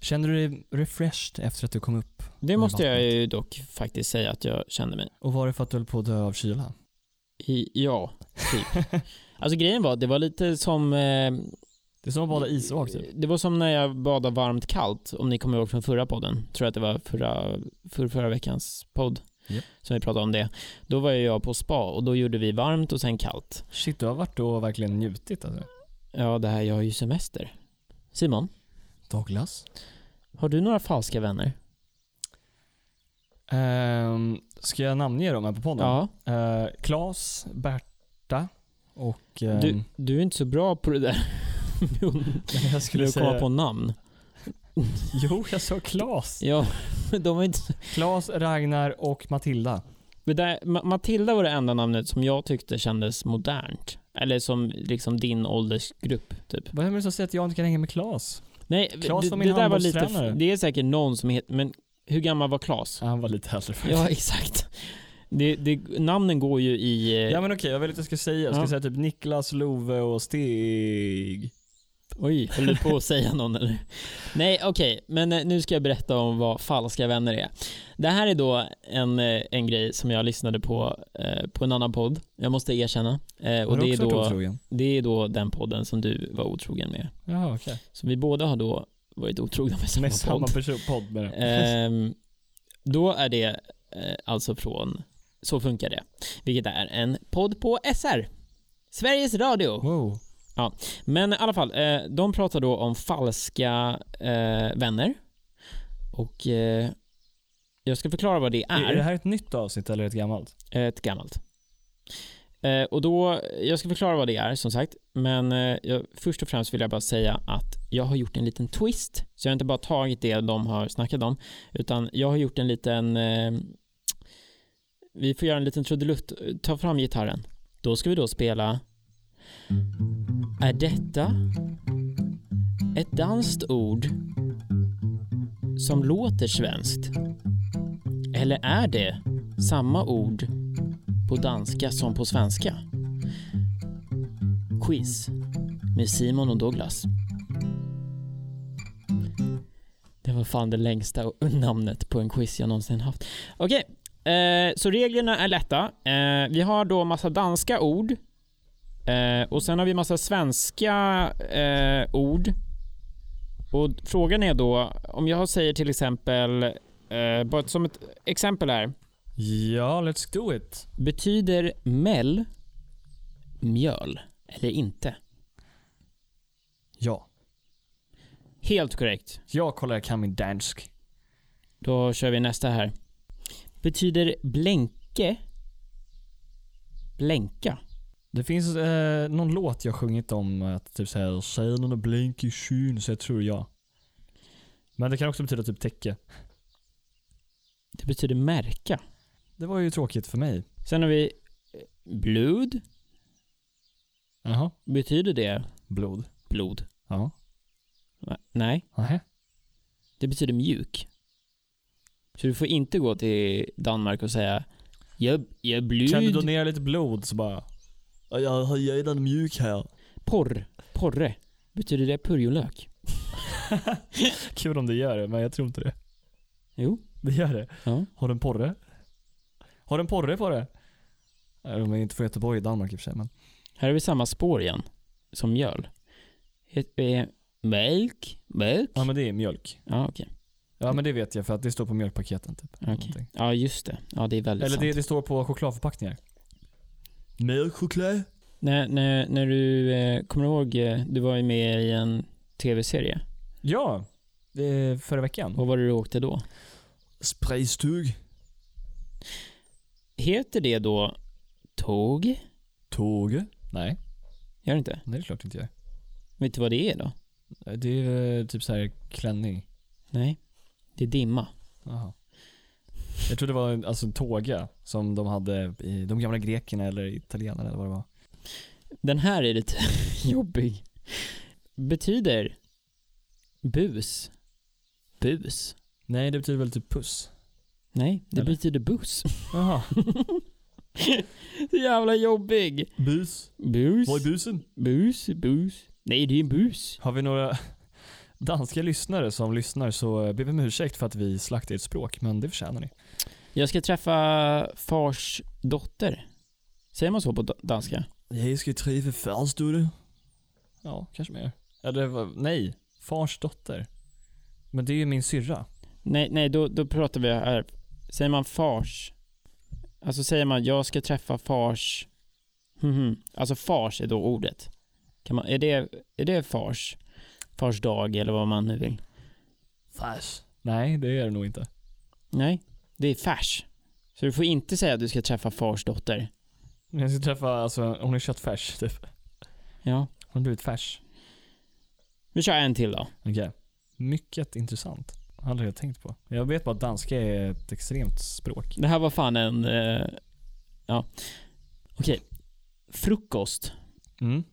B: Känner du dig refreshed efter att du kom upp?
A: det måste jag ju dock faktiskt säga att jag kände mig.
B: Och var det för att du höll på att dö av kyla?
A: I, ja,
B: [laughs]
A: typ. alltså grejen var, att det var lite som... Eh,
B: Det är som att bada isvak typ.
A: Det var som när jag badade varmt kallt, om ni kommer ihåg från förra podden. Tror att det var förra, för, förra veckans podd.
B: Japp.
A: som vi pratade om det. Då var ju jag på spa och då gjorde vi varmt och sen kallt.
B: Shit, du har varit och verkligen njutit alltså.
A: Ja, det här, jag har ju semester. Simon,
B: Douglas?
A: har du några falska vänner?
B: Ehm, ska jag namnge dem här på podden?
A: Ja.
B: Eh, Klas, Berta och... ehm,
A: Du, du är inte så bra på det där.
B: [laughs]
A: [laughs]
B: jag
A: Skulle
B: skulle
A: du komma
B: säga...
A: på namn?
B: Jo, jag sa Klas.
A: Ja, [laughs] men de var inte
B: Klas, Ragnar och Matilda.
A: Det där, Ma- Matilda var det enda namnet som jag tyckte kändes modernt. Eller som liksom din åldersgrupp, typ.
B: Vad är det som säger att jag inte kan hänga med Klas?
A: Nej,
B: Klas
A: det,
B: var min
A: det där var lite...
B: handbollstränare.
A: f- Det är säkert någon som heter... Men hur gammal var Klas?
B: Han var lite äldre faktiskt.
A: Ja, [laughs] exakt. Det, det, namnen går ju i... eh,
B: Ja men okej, jag vet inte vad jag ska säga. Jag ska
A: Ja.
B: säga typ Niklas, Love och Stig.
A: Oj, höll du på att säga någon eller? Nej, okej, men eh, nu ska jag berätta om vad falska vänner är. Det här är då en, eh, en grej som jag lyssnade på eh, på en annan podd, jag måste erkänna. Eh, och
B: Har du
A: det är,
B: också varit
A: då,
B: otrogen?
A: det är då den podden som du var otrogen med.
B: Jaha okej.
A: Så vi båda har då varit otrogna med samma
B: Med samma
A: podd.
B: person, podd Eh, med det.
A: Ehm, då är det eh, alltså från Så funkar det, vilket är en podd på SR. Sveriges Radio.
B: Wow.
A: Men i alla fall, eh, de pratar då om falska eh, vänner. Och eh, jag ska förklara vad det
B: Är, är det
A: är.
B: här ett nytt avsnitt eller ett gammalt?
A: Ett gammalt. Eh, och då, jag ska förklara vad det är som sagt. Men eh, jag, först och främst vill jag bara säga att jag har gjort en liten twist. Så jag har inte bara tagit det de har snackat om. Utan jag har gjort en liten... Eh, vi får göra en liten trudelutt. Ta fram gitarren. Då ska vi då spela... Är detta ett danskt ord som låter svenskt? Eller är det samma ord på danska som på svenska? Quiz med Simon och Douglas. Det var fan det längsta namnet på en quiz jag någonsin haft. Okej, eh, så reglerna är lätta. Eh, vi har då massa danska ord eh, och sen har vi massa svenska eh, ord. Och frågan är då, om jag säger till exempel, eh, bara som ett exempel här.
B: Ja, let's do it.
A: Betyder mell mjöl eller inte?
B: Ja.
A: Helt korrekt.
B: Jag kollar, jag kan min dansk.
A: Då kör vi nästa här. Betyder blänke blänka?
B: Det finns eh, någon låt jag sjungit om att typ såhär Tjejerna blink i skyn, så jag tror ja. Men det kan också betyda typ täcke.
A: Det betyder märka.
B: Det var ju tråkigt för mig.
A: Sen har vi eh, blod.
B: Jaha.
A: Betyder det
B: Blod.
A: blod?
B: Ja.
A: Nej,
B: Nähä.
A: det betyder mjuk. Så du får inte gå till Danmark och säga jag, jag blöd.
B: Kan du donera lite blod så bara... "Ja, Jag har redan mjuk här.
A: Porr. Porre. Betyder det purjolök?
B: Kul om det gör det, men jag tror inte det.
A: Jo.
B: Det gör det.
A: Ja.
B: Har du en porre? Har du en porre på det? Nej, De är inte från Göteborg i Danmark i och för sig, men...
A: Här är vi samma spår igen, som mjöl. Het- eh, Mjölk? Mjölk?
B: Ja men det är mjölk.
A: Ja, okej.
B: Ja men det vet jag för att det står på mjölkpaketen typ.
A: Okej.
B: Någonting.
A: Ja, just det. Ja, det är väldigt
B: Eller
A: sant.
B: det, det står på chokladförpackningar. Mjölkchoklad?
A: När, när, när du, eh, kommer du ihåg, eh, du var ju med i en tv-serie.
B: Ja! Det är förra veckan.
A: Vad var det du åkte då?
B: Sprejstug.
A: Heter det då tåg?
B: Tåg? Nej,
A: Gör det inte?
B: det är klart inte jag.
A: Vet du vad det är då?
B: Det är eh, typ så här klänning.
A: Nej. Det är dimma.
B: Jaha. Jag tror det var en, alltså en tåga som de hade i de gamla grekerna eller italienarna eller vad det var.
A: Den här är lite [laughs] jobbig. Betyder bus? Bus?
B: Nej, det betyder väl typ puss.
A: Nej, det
B: Eller?
A: betyder buss.
B: Jaha.
A: [laughs] Så jävla jobbig.
B: Bus.
A: Bus.
B: Var är busen?
A: Bus, bus. Nej, det är en bus.
B: Har vi några danska lyssnare som lyssnar så ber vi om ursäkt för att vi slaktade ert språk, men det förtjänar ni.
A: Jag ska träffa fars dotter. Säger man så på da- danska?
B: Jag ska träffa fars dotter. Ja, kanske mer. Eller vad- nej, fars dotter. Men det är ju min syrra.
A: Nej, nej, då, då pratar vi här. Säger man fars Alltså säger man jag ska träffa fars... Mhm. Alltså fars är då ordet. Kan man, är, det, är det fars? Fars dag eller vad man nu vill.
B: Fars. Nej, det är det nog inte.
A: Nej, det är färs. Så du får inte säga att du ska träffa fars dotter.
B: Men jag ska träffa, alltså hon är köttfärs typ.
A: Ja.
B: Hon har blivit färs.
A: Vi kör en till då.
B: Okej. Mycket intressant. Aldrig jag tänkt på. Jag vet bara att danska är ett extremt språk.
A: Det här var fan en... Eh, ja. Okej. Frukost.
B: Mm.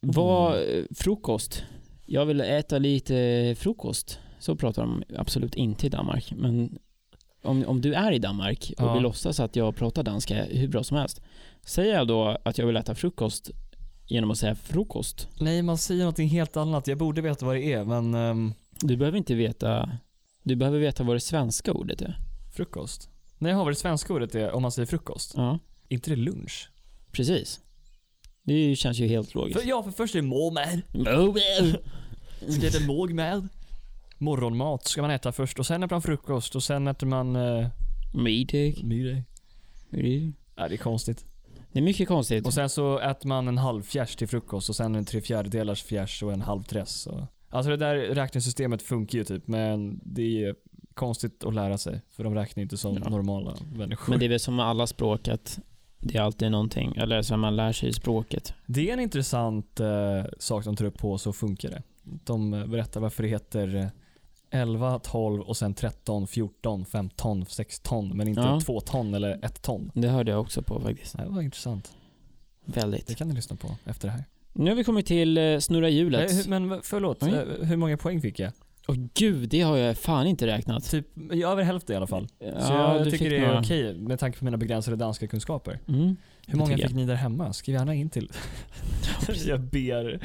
A: Vad... eh, Frukost. Jag vill äta lite frukost. Så pratar de absolut inte i Danmark. Men om, om du är i Danmark och
B: Ja.
A: vill låtsas att jag pratar danska hur bra som helst. Säger jag då att jag vill äta frukost genom att säga frukost?
B: Nej, man säger någonting helt annat. Jag borde veta vad det är, men ehm,
A: Du behöver inte veta... Du behöver veta vad det svenska ordet är.
B: frukost. Nej, jag har vad det svenska ordet är om man säger frukost.
A: Ja,
B: Inte det lunch?
A: precis. Det känns ju helt logiskt.
B: För, ja, för först är det mormad.
A: [laughs] Mobile. [laughs]
B: Så det är morgmad. Morgonmat ska man äta först och sen äter man frukost och sen äter man... Uh,
A: Middag.
B: middag. Ja, det är konstigt.
A: Det är mycket konstigt.
B: Och sen så äter man en halv fjärs till frukost och sen en tre fjärdedelars fjärs och en halv träss. Och... Alltså det där räkningssystemet funkar ju typ men det är konstigt att lära sig. För de räknar ju inte som
A: Ja.
B: normala människor.
A: Men det
B: det...
A: är väl som med alla språk att det är alltid någonting, eller så här, man lär sig språket.
B: är en intressant eh, sak de tar upp på Så funkar det. De eh, berättar varför det heter eh, 11, 12 och sen 13, 14, 15, 16 men inte
A: Ja.
B: 2 ton eller 1 ton.
A: Det hörde jag också på faktiskt.
B: Det här var intressant. Det
A: Väldigt.
B: kan ni lyssna på efter det här.
A: Nu har vi kommit till eh, snurra hjulet.
B: Nej, hur- men v- förlåt,
A: Oj.
B: eh, hur många poäng fick jag?
A: Åh gud, det har jag fan inte räknat.
B: Typ över hälften i alla fall. Så
A: Ja,
B: jag
A: du
B: tycker
A: fick
B: det är
A: några.
B: okej med tanke på mina begränsade danska kunskaper.
A: Mm.
B: Hur många
A: tycker jag.
B: fick ni där hemma? Skriv gärna
A: [laughs]
B: in till. jag ber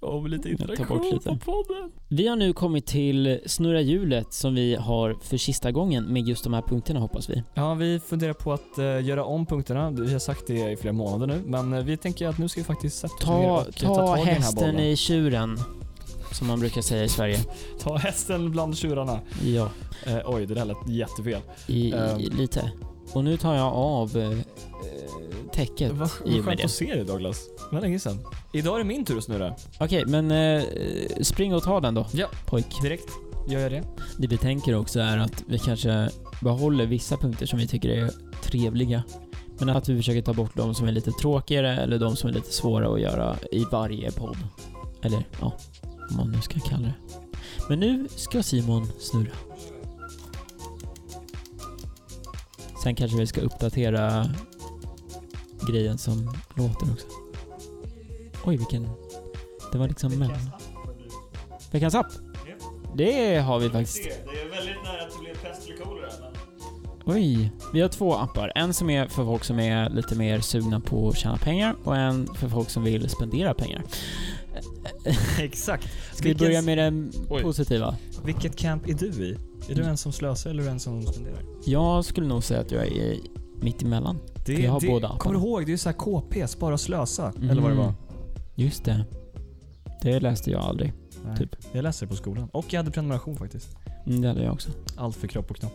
B: om lite
A: Jag tar bort
B: interaktion
A: lite.
B: på podden.
A: Vi har nu kommit till snurra hjulet som vi har för sista gången med just de här punkterna hoppas vi.
B: Ja, vi funderar på att eh, göra om punkterna. Vi har sagt det i flera månader nu, men eh, vi tänker att nu ska vi faktiskt sätta oss ner
A: Ta,
B: och eh,
A: ta
B: tag i den här
A: hästen
B: bollen.
A: i tjuren. Som man brukar säga i Sverige.
B: Ta hästen bland tjurarna.
A: Ja.
B: Eh, oj, det där lät jättefel.
A: I,
B: Ehm.
A: i, lite. Och nu tar jag av eh, eh, täcket
B: Vad
A: i
B: vad
A: och med
B: skönt
A: det.
B: att se dig Douglas. Det var länge sedan. Idag är det min tur att snurra.
A: Okej, men eh, spring och ta den då,
B: Ja.
A: pojk.
B: Direkt gör jag det.
A: Det vi tänker också är att vi kanske behåller vissa punkter som vi tycker är trevliga. Men att vi försöker ta bort de som är lite tråkigare eller de som är lite svåra att göra i varje podd. Eller ja, vad man nu ska kalla det. Men nu ska Simon snurra. Sen kanske vi ska uppdatera grejen som låter också. Oj, vilken... Det var liksom... Veckans app. Veckans app? Det har vi faktiskt.
B: Det är väldigt nära att det blir pest eller kolera.
A: Oj. Vi har två appar. En som är för folk som är lite mer sugna på att tjäna pengar och en för folk som vill spendera pengar.
B: [laughs] Exakt.
A: Ska vi
B: Vilken-
A: börja med den
B: Oj.
A: positiva?
B: Vilket camp är du i? Är
A: Mm.
B: du en som slösar eller är du en som spenderar?
A: Jag skulle nog säga att jag är mitt emellan. Vi har båda apparna.
B: Kommer du ihåg? Det är ju såhär KP, spara och slösa.
A: Mm.
B: Eller vad det var.
A: Just det. Det läste jag aldrig.
B: Nej.
A: Typ.
B: Jag läste det på skolan. Och jag hade prenumeration faktiskt.
A: Mm, det hade jag också.
B: Allt för kropp och knopp.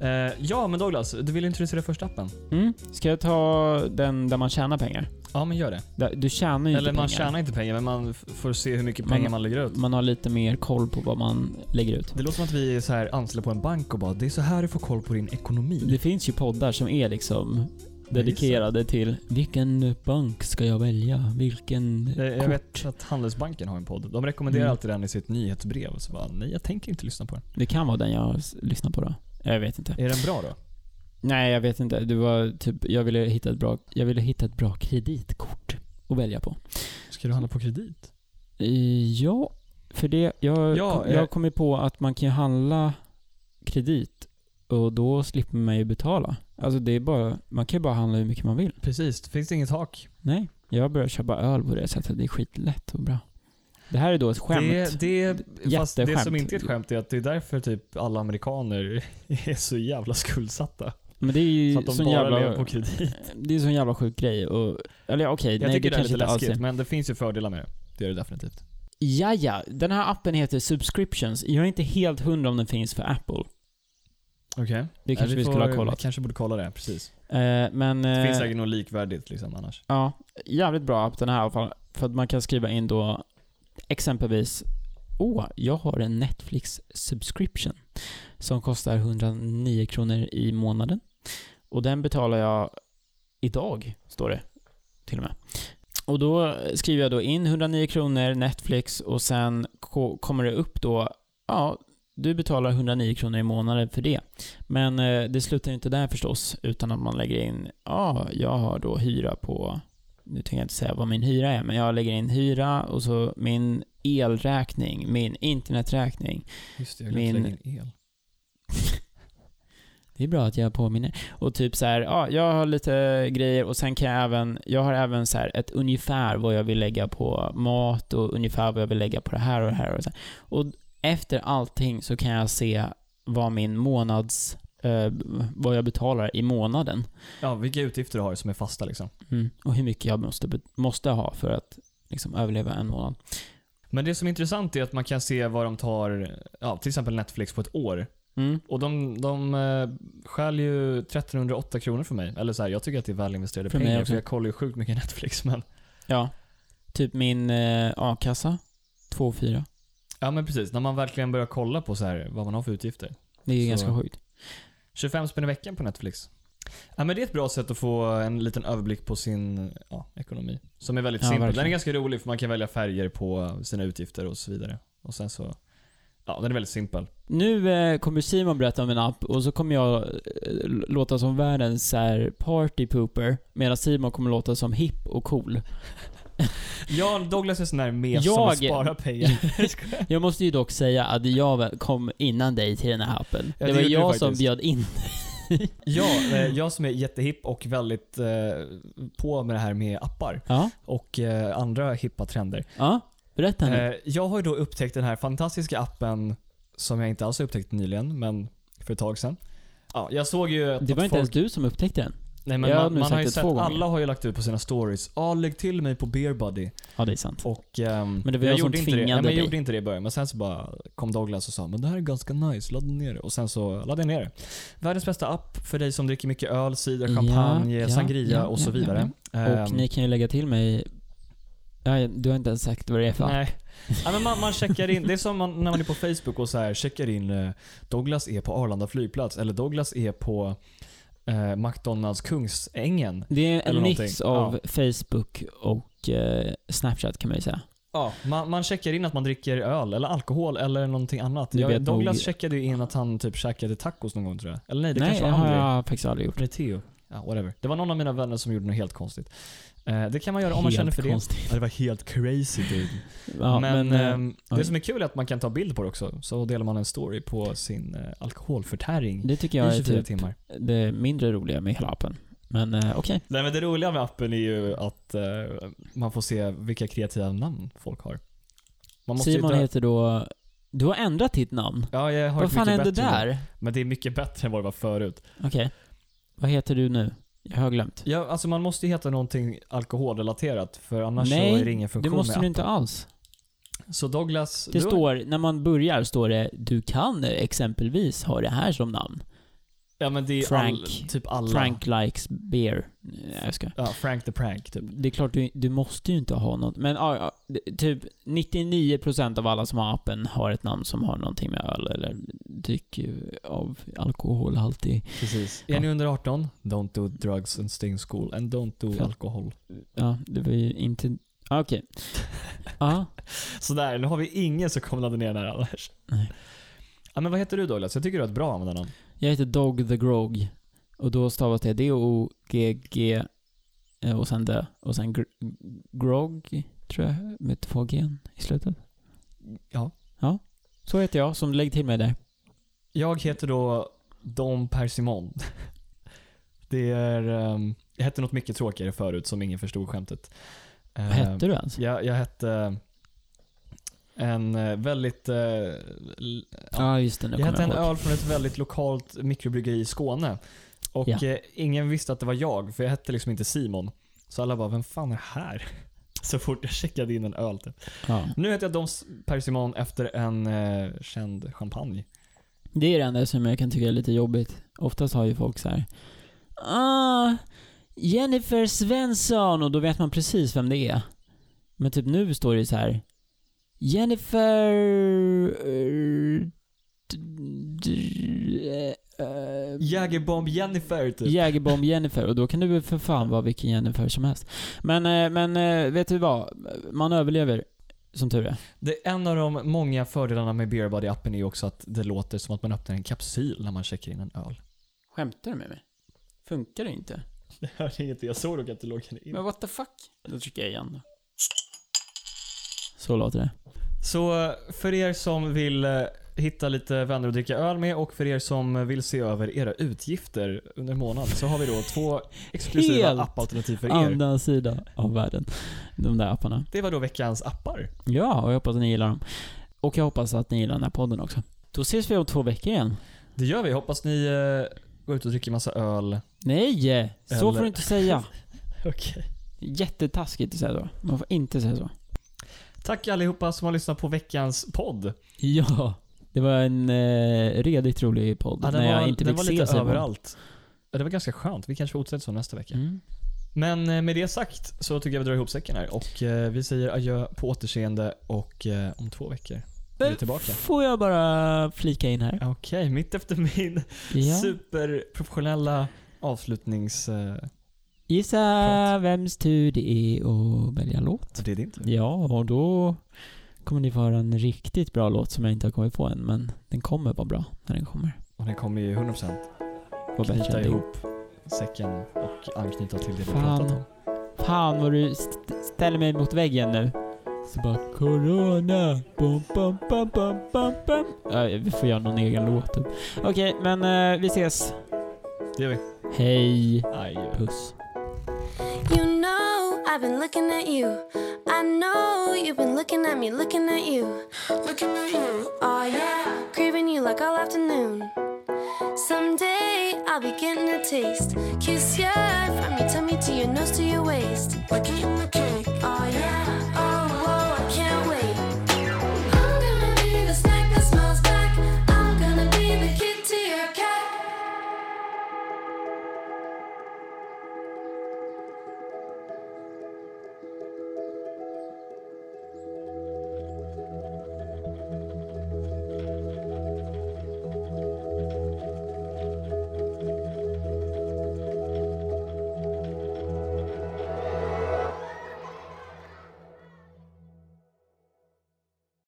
A: Mm.
B: Eh, ja, men Douglas. Du ville introducera första appen?
A: Mm. Ska jag ta den där man tjänar pengar?
B: Ja, men gör det.
A: Där- Du tjänar ju
B: eller
A: inte
B: man
A: pengar.
B: tjänar inte pengar, Mm. men man f- får se hur mycket
A: Man-
B: pengar man lägger ut.
A: Man har lite mer koll på vad man lägger ut.
B: Det låter som att vi är så här anställda på en bank och bara det är så här du får koll på din ekonomi.
A: Det finns ju poddar som är liksom dedikerade till vilken bank ska jag välja? Vilken
B: Eh, Jag
A: kort?
B: vet att Handelsbanken har en podd. De rekommenderar
A: Mm.
B: alltid den i sitt nyhetsbrev. Så bara, nej jag tänker inte lyssna på den.
A: Det kan vara den jag s- lyssnar på då. Jag vet inte.
B: Är den bra då?
A: Nej, jag vet inte. Det var typ, jag ville hitta ett bra, jag ville hitta ett bra kreditkort att välja på.
B: Ska du handla på kredit?
A: Eh, Ja, för det, jag,
B: Ja,
A: kom,
B: eh.
A: jag kom ju på att man kan ju handla kredit och då slipper man ju betala. Alltså det är bara, man kan ju bara handla hur mycket man vill.
B: Precis, det finns inget tak.
A: Nej, jag börjar köpa öl på det sättet. Det är skitlätt och bra. Det här är då ett skämt.
B: Det, det, fast det
A: Jätteskämt.
B: som inte är ett skämt är att det är därför typ alla amerikaner [laughs] är så jävla skuldsatta.
A: Men det är
B: Så
A: ju
B: att de
A: sån
B: bara
A: jävla,
B: lever på kredit.
A: det är sån jävla sjuk grej och, eller ja, okej,
B: Jag
A: nej det
B: tycker det är
A: kanske
B: lite
A: inte alls
B: läskigt
A: är.
B: men det finns ju fördelar med det. Det är det definitivt.
A: Ja, ja, den här appen heter Subscriptions. Jag är inte helt hundra om den finns för Apple.
B: Okej.
A: Det kanske vi, skulle ha kollat.
B: kanske borde kolla det, precis.
A: Eh, men...
B: Det finns
A: eh,
B: säkert något likvärdigt liksom annars.
A: Ja, jävligt bra app den här i alla fall. För att man kan skriva in då exempelvis Åh, jag har en Netflix subscription som kostar 109 kronor i månaden. Och den betalar jag idag, står det till och med. Och då skriver jag då in 109 kronor Netflix och sen ko- kommer det upp då, ja, du betalar 109 kronor i månaden för det. Men eh, det slutar ju inte där förstås, utan att man lägger in, ja, jag har då hyra på, nu tänker jag inte säga vad min hyra är, men jag lägger in hyra och så min elräkning, min interneträkning.
B: Just det,
A: jag glömde Min-
B: in el.
A: Det är bra att jag påminner. Och typ så här, ja, jag har lite grejer och sen kan jag även, jag har även så här ett ungefär vad jag vill lägga på mat och ungefär vad jag vill lägga på det här och det här och så här. Och efter allting så kan jag se vad min månads, eh, vad jag betalar i månaden.
B: Ja, vilka utgifter du har som är fasta liksom.
A: Mm. Och hur mycket jag måste, be- måste ha för att liksom överleva en månad.
B: Men det som är intressant är att man kan se vad de tar, ja, till exempel Netflix på ett år.
A: Mm.
B: Och de, de eh, stjäl ju 1308 kronor för mig. Eller så här, jag tycker att det är väl investerade
A: För mig
B: pengar
A: också.
B: för jag kollar ju sjukt mycket [laughs] Netflix. Men,
A: Ja. Typ min eh, a-kassa, 2,4.
B: ja men precis, när man verkligen börjar kolla på så här, vad man har för utgifter.
A: Det är ju
B: Så-
A: ganska sjukt.
B: 25 spänn i veckan på Netflix. Ja, men det är ett bra sätt att få en liten överblick på sin ja, ekonomi. Som är väldigt
A: Ja,
B: simpel. Den är
A: verkligen.
B: ganska rolig för man kan välja färger på sina utgifter och så vidare. Och sen så, ja den är väldigt simpel.
A: Nu eh, kommer Simon berätta om en app och så kommer jag eh, låta som världens så här, party pooper medan Simon kommer låta som hipp och cool.
B: Ja, Douglas är sån där mes
A: Jag-
B: som sparar pengar.
A: [laughs] Jag måste ju dock säga att jag väl kom innan dig till den här appen.
B: Ja,
A: det
B: det
A: var
B: gjorde du
A: jag som
B: faktiskt.
A: bjöd in.
B: ja, eh, jag som är jättehipp och väldigt eh, på med det här med appar
A: Ja,
B: och eh, andra hippa trender.
A: ja. Berätta nu.
B: Eh, jag har ju då upptäckt den här fantastiska appen som jag inte alls har upptäckt nyligen, men för ett tag sedan. Ja, jag såg ju att
A: det var
B: att
A: inte ens du som upptäckte den.
B: Nej, men
A: Jag har
B: man,
A: nu
B: man
A: sagt
B: har ju
A: det
B: sett,
A: två gånger.
B: alla har ju lagt ut på sina stories. Ja, lägg till mig på Beerbuddy.
A: Ja, det är sant.
B: Och, ehm,
A: Men det var jag som
B: gjorde inte det. Nej,
A: tvingade
B: men jag
A: dig.
B: gjorde inte det i början, men sen så bara kom Douglas och sa men det här är ganska nice, ladda ner det. Och sen så laddade jag ner det. Världens bästa app för dig som dricker mycket öl, cider,
A: Ja,
B: champagne,
A: ja,
B: sangria
A: ja,
B: och så
A: ja,
B: vidare.
A: Och
B: Ehm,
A: ni kan ju lägga till mig... Nej, du har inte ens sagt vad det är för app.
B: Nej. Ja, men man, man checkar in. Det är som man, när man är på Facebook och så här, checkar in eh, Douglas är på Arlanda flygplats eller Douglas är på eh, McDonalds Kungsängen.
A: Det är
B: Eller
A: en
B: någonting.
A: mix av Facebook och eh, Snapchat kan man ju säga.
B: Ja, man, man checkar in att man dricker öl eller alkohol eller någonting annat.
A: Du
B: Jag,
A: vet
B: Douglas
A: nog-
B: checkade ju in att han typ käkade tacos någon gång tror jag. Eller nej, det
A: Nej,
B: kanske
A: det
B: var
A: har
B: André.
A: jag faktiskt aldrig gjort.
B: Nej, Theo. Ja, whatever. Det var någon av mina vänner som gjorde något helt konstigt. Eh, det kan man göra om man
A: Helt
B: känner för
A: konstigt.
B: det. Ja, det var helt crazy dude.
A: Ja,
B: men
A: men, eh,
B: ehm,
A: oj.
B: det som är kul är att man kan ta bild på det också. Så delar man en story på sin eh, alkoholförtäring
A: det tycker jag
B: i
A: är
B: 24
A: typ
B: timmar.
A: det mindre roliga med hela appen. Men eh, okej.
B: Nej, men det roliga med appen är ju att eh, man får se vilka kreativa namn folk har. Man måste ju
A: Simon
B: dra-
A: heter då... Du har ändrat ditt namn.
B: Ja, jag har
A: Vad
B: ett
A: fan
B: mycket
A: hände
B: bättre namn.
A: där?
B: Men det är mycket bättre än vad det var förut.
A: Okej. Vad heter du nu? Jag har glömt.
B: Ja, alltså man måste ju heta någonting alkoholrelaterat för annars så
A: Nej,
B: är det ingen
A: Det
B: funktion
A: måste
B: med
A: du inte alls.
B: appen. Så Douglas,
A: Det
B: du har-
A: står, när man börjar står det du kan exempelvis ha det här som namn.
B: ja, men det är
A: Frank.
B: All, typ alla.
A: Frank likes beer. Nej, jag ska.
B: Ja, Frank the Prank typ.
A: Det är klart, du, du måste ju inte ha något. Men ja, ja, det- typ 99% av alla som har appen har ett namn som har någonting med öl eller dryck eh, av alkoholhalt i.
B: Precis.
A: Ja.
B: Är ni under 18? Don't do drugs and stay in school. And don't do
A: Fan.
B: alkohol.
A: Ja, det var ju inte... ah, Okej. Ja.
B: Sådär, nu har vi ingen som kommer ladda ner den här annars.
A: Nej.
B: Ja, men vad heter du Douglas? Jag tycker du har ett bra användarnamn.
A: Jag heter Dog the Grog. Och då stavas det D-O-G-G eh, och sen det. Och sen gr- Grog, tror jag, med två G i slutet.
B: Ja.
A: Ja. Så heter jag, som lägg till mig där.
B: Jag heter då Dom Persimon. Det är... ehm, jag hette något mycket tråkigare förut som ingen förstod skämtet.
A: Vad
B: Eh,
A: hette du ens?
B: Jag, jag hette eh, en eh, väldigt... eh, l-
A: Ja, just det. Nu
B: jag
A: kommer
B: hette en
A: jag ihåg.
B: öl från ett väldigt lokalt mikrobryggeri i Skåne. Och
A: Ja.
B: eh, ingen visste att det var jag, för jag hette liksom inte Simon. Så alla bara, vem fan är här? [laughs] Så fort jag checkade in en öl. Typ.
A: Ja.
B: Nu heter jag Dom Persimon efter en eh, känd champagne.
A: Det är det enda som jag kan tycka är lite jobbigt. Oftast har ju folk så här. Ah, Jennifer Svensson och då vet man precis vem det är. Men typ nu står det så här. Jennifer... eh, d- d- eh, eh,
B: Jägerbomb Jennifer typ.
A: Jägerbomb Jennifer och då kan du väl för fan vara vilken Jennifer som helst. Men, eh, men eh, vet du vad? Man överlever, som tur är.
B: Det är en av de många fördelarna med Beerbody-appen är också att det låter som att man öppnar en kapsyl när man checkar in en öl.
A: Skämtar du med mig? Funkar det inte?
B: Det hörde inget, jag såg dock att du loggade in.
A: what the fuck? Då trycker jag igen då. Så låter det.
B: Så eh, för er som vill eh, hitta lite vänner att dricka öl med och för er som vill se över era utgifter under en månad så har vi då [laughs] två exklusiva
A: Helt
B: appalternativ för er.
A: Andra sidan av världen. De där apparna.
B: Det var då veckans appar.
A: Ja, och jag hoppas att ni gillar dem. Och jag hoppas att ni gillar den här podden också. Då ses vi om två veckor igen.
B: Det gör vi. Hoppas ni eh, går ut och dricker massa öl.
A: Nej! Så får
B: Eller-
A: du inte säga.
B: Okej.
A: Jättetaskigt att säga så. Man får inte säga så.
B: Tack allihopa som har lyssnat på veckans podd.
A: Ja. Det var en eh, redigt rolig podd.
B: Ja, den
A: när
B: var,
A: jag inte
B: den
A: fick
B: var
A: se
B: lite
A: Simon.
B: överallt. Ja, det var ganska skönt. Vi kanske fortsätter så nästa vecka.
A: Mm.
B: Men eh, med det sagt så tycker jag vi drar ihop säcken här och eh, vi säger adjö på återseende och eh, om två veckor. Vi är tillbaka.
A: Får jag bara flika in här?
B: Okej, mitt efter min
A: Ja.
B: superprofessionella avslutnings... eh,
A: Gissa
B: Prat.
A: vems tur det är att välja låt.
B: det är din tur.
A: Ja, och då kommer ni få höra en riktigt bra låt som jag inte har kommit på än, men den kommer vara bra när den kommer.
B: Och den kommer ju 100%
A: Var bättre
B: knyta
A: än det.
B: ihop säcken och anknyta till det vi
A: Fan.
B: pratat om.
A: Fan vad du st- ställer mig mot väggen nu. Så bara Corona, bom, bom, bom, bom, bom, bom. Ja, vi får göra någon egen låt typ. Okej, men eh, vi ses.
B: Det gör vi.
A: Hej.
B: Adjö.
A: Puss.
C: You know I've been looking at you. I know you've been looking at me, looking at you. Looking at you, oh yeah. Craving you like all afternoon. Someday I'll be getting a taste. Kiss your Oh,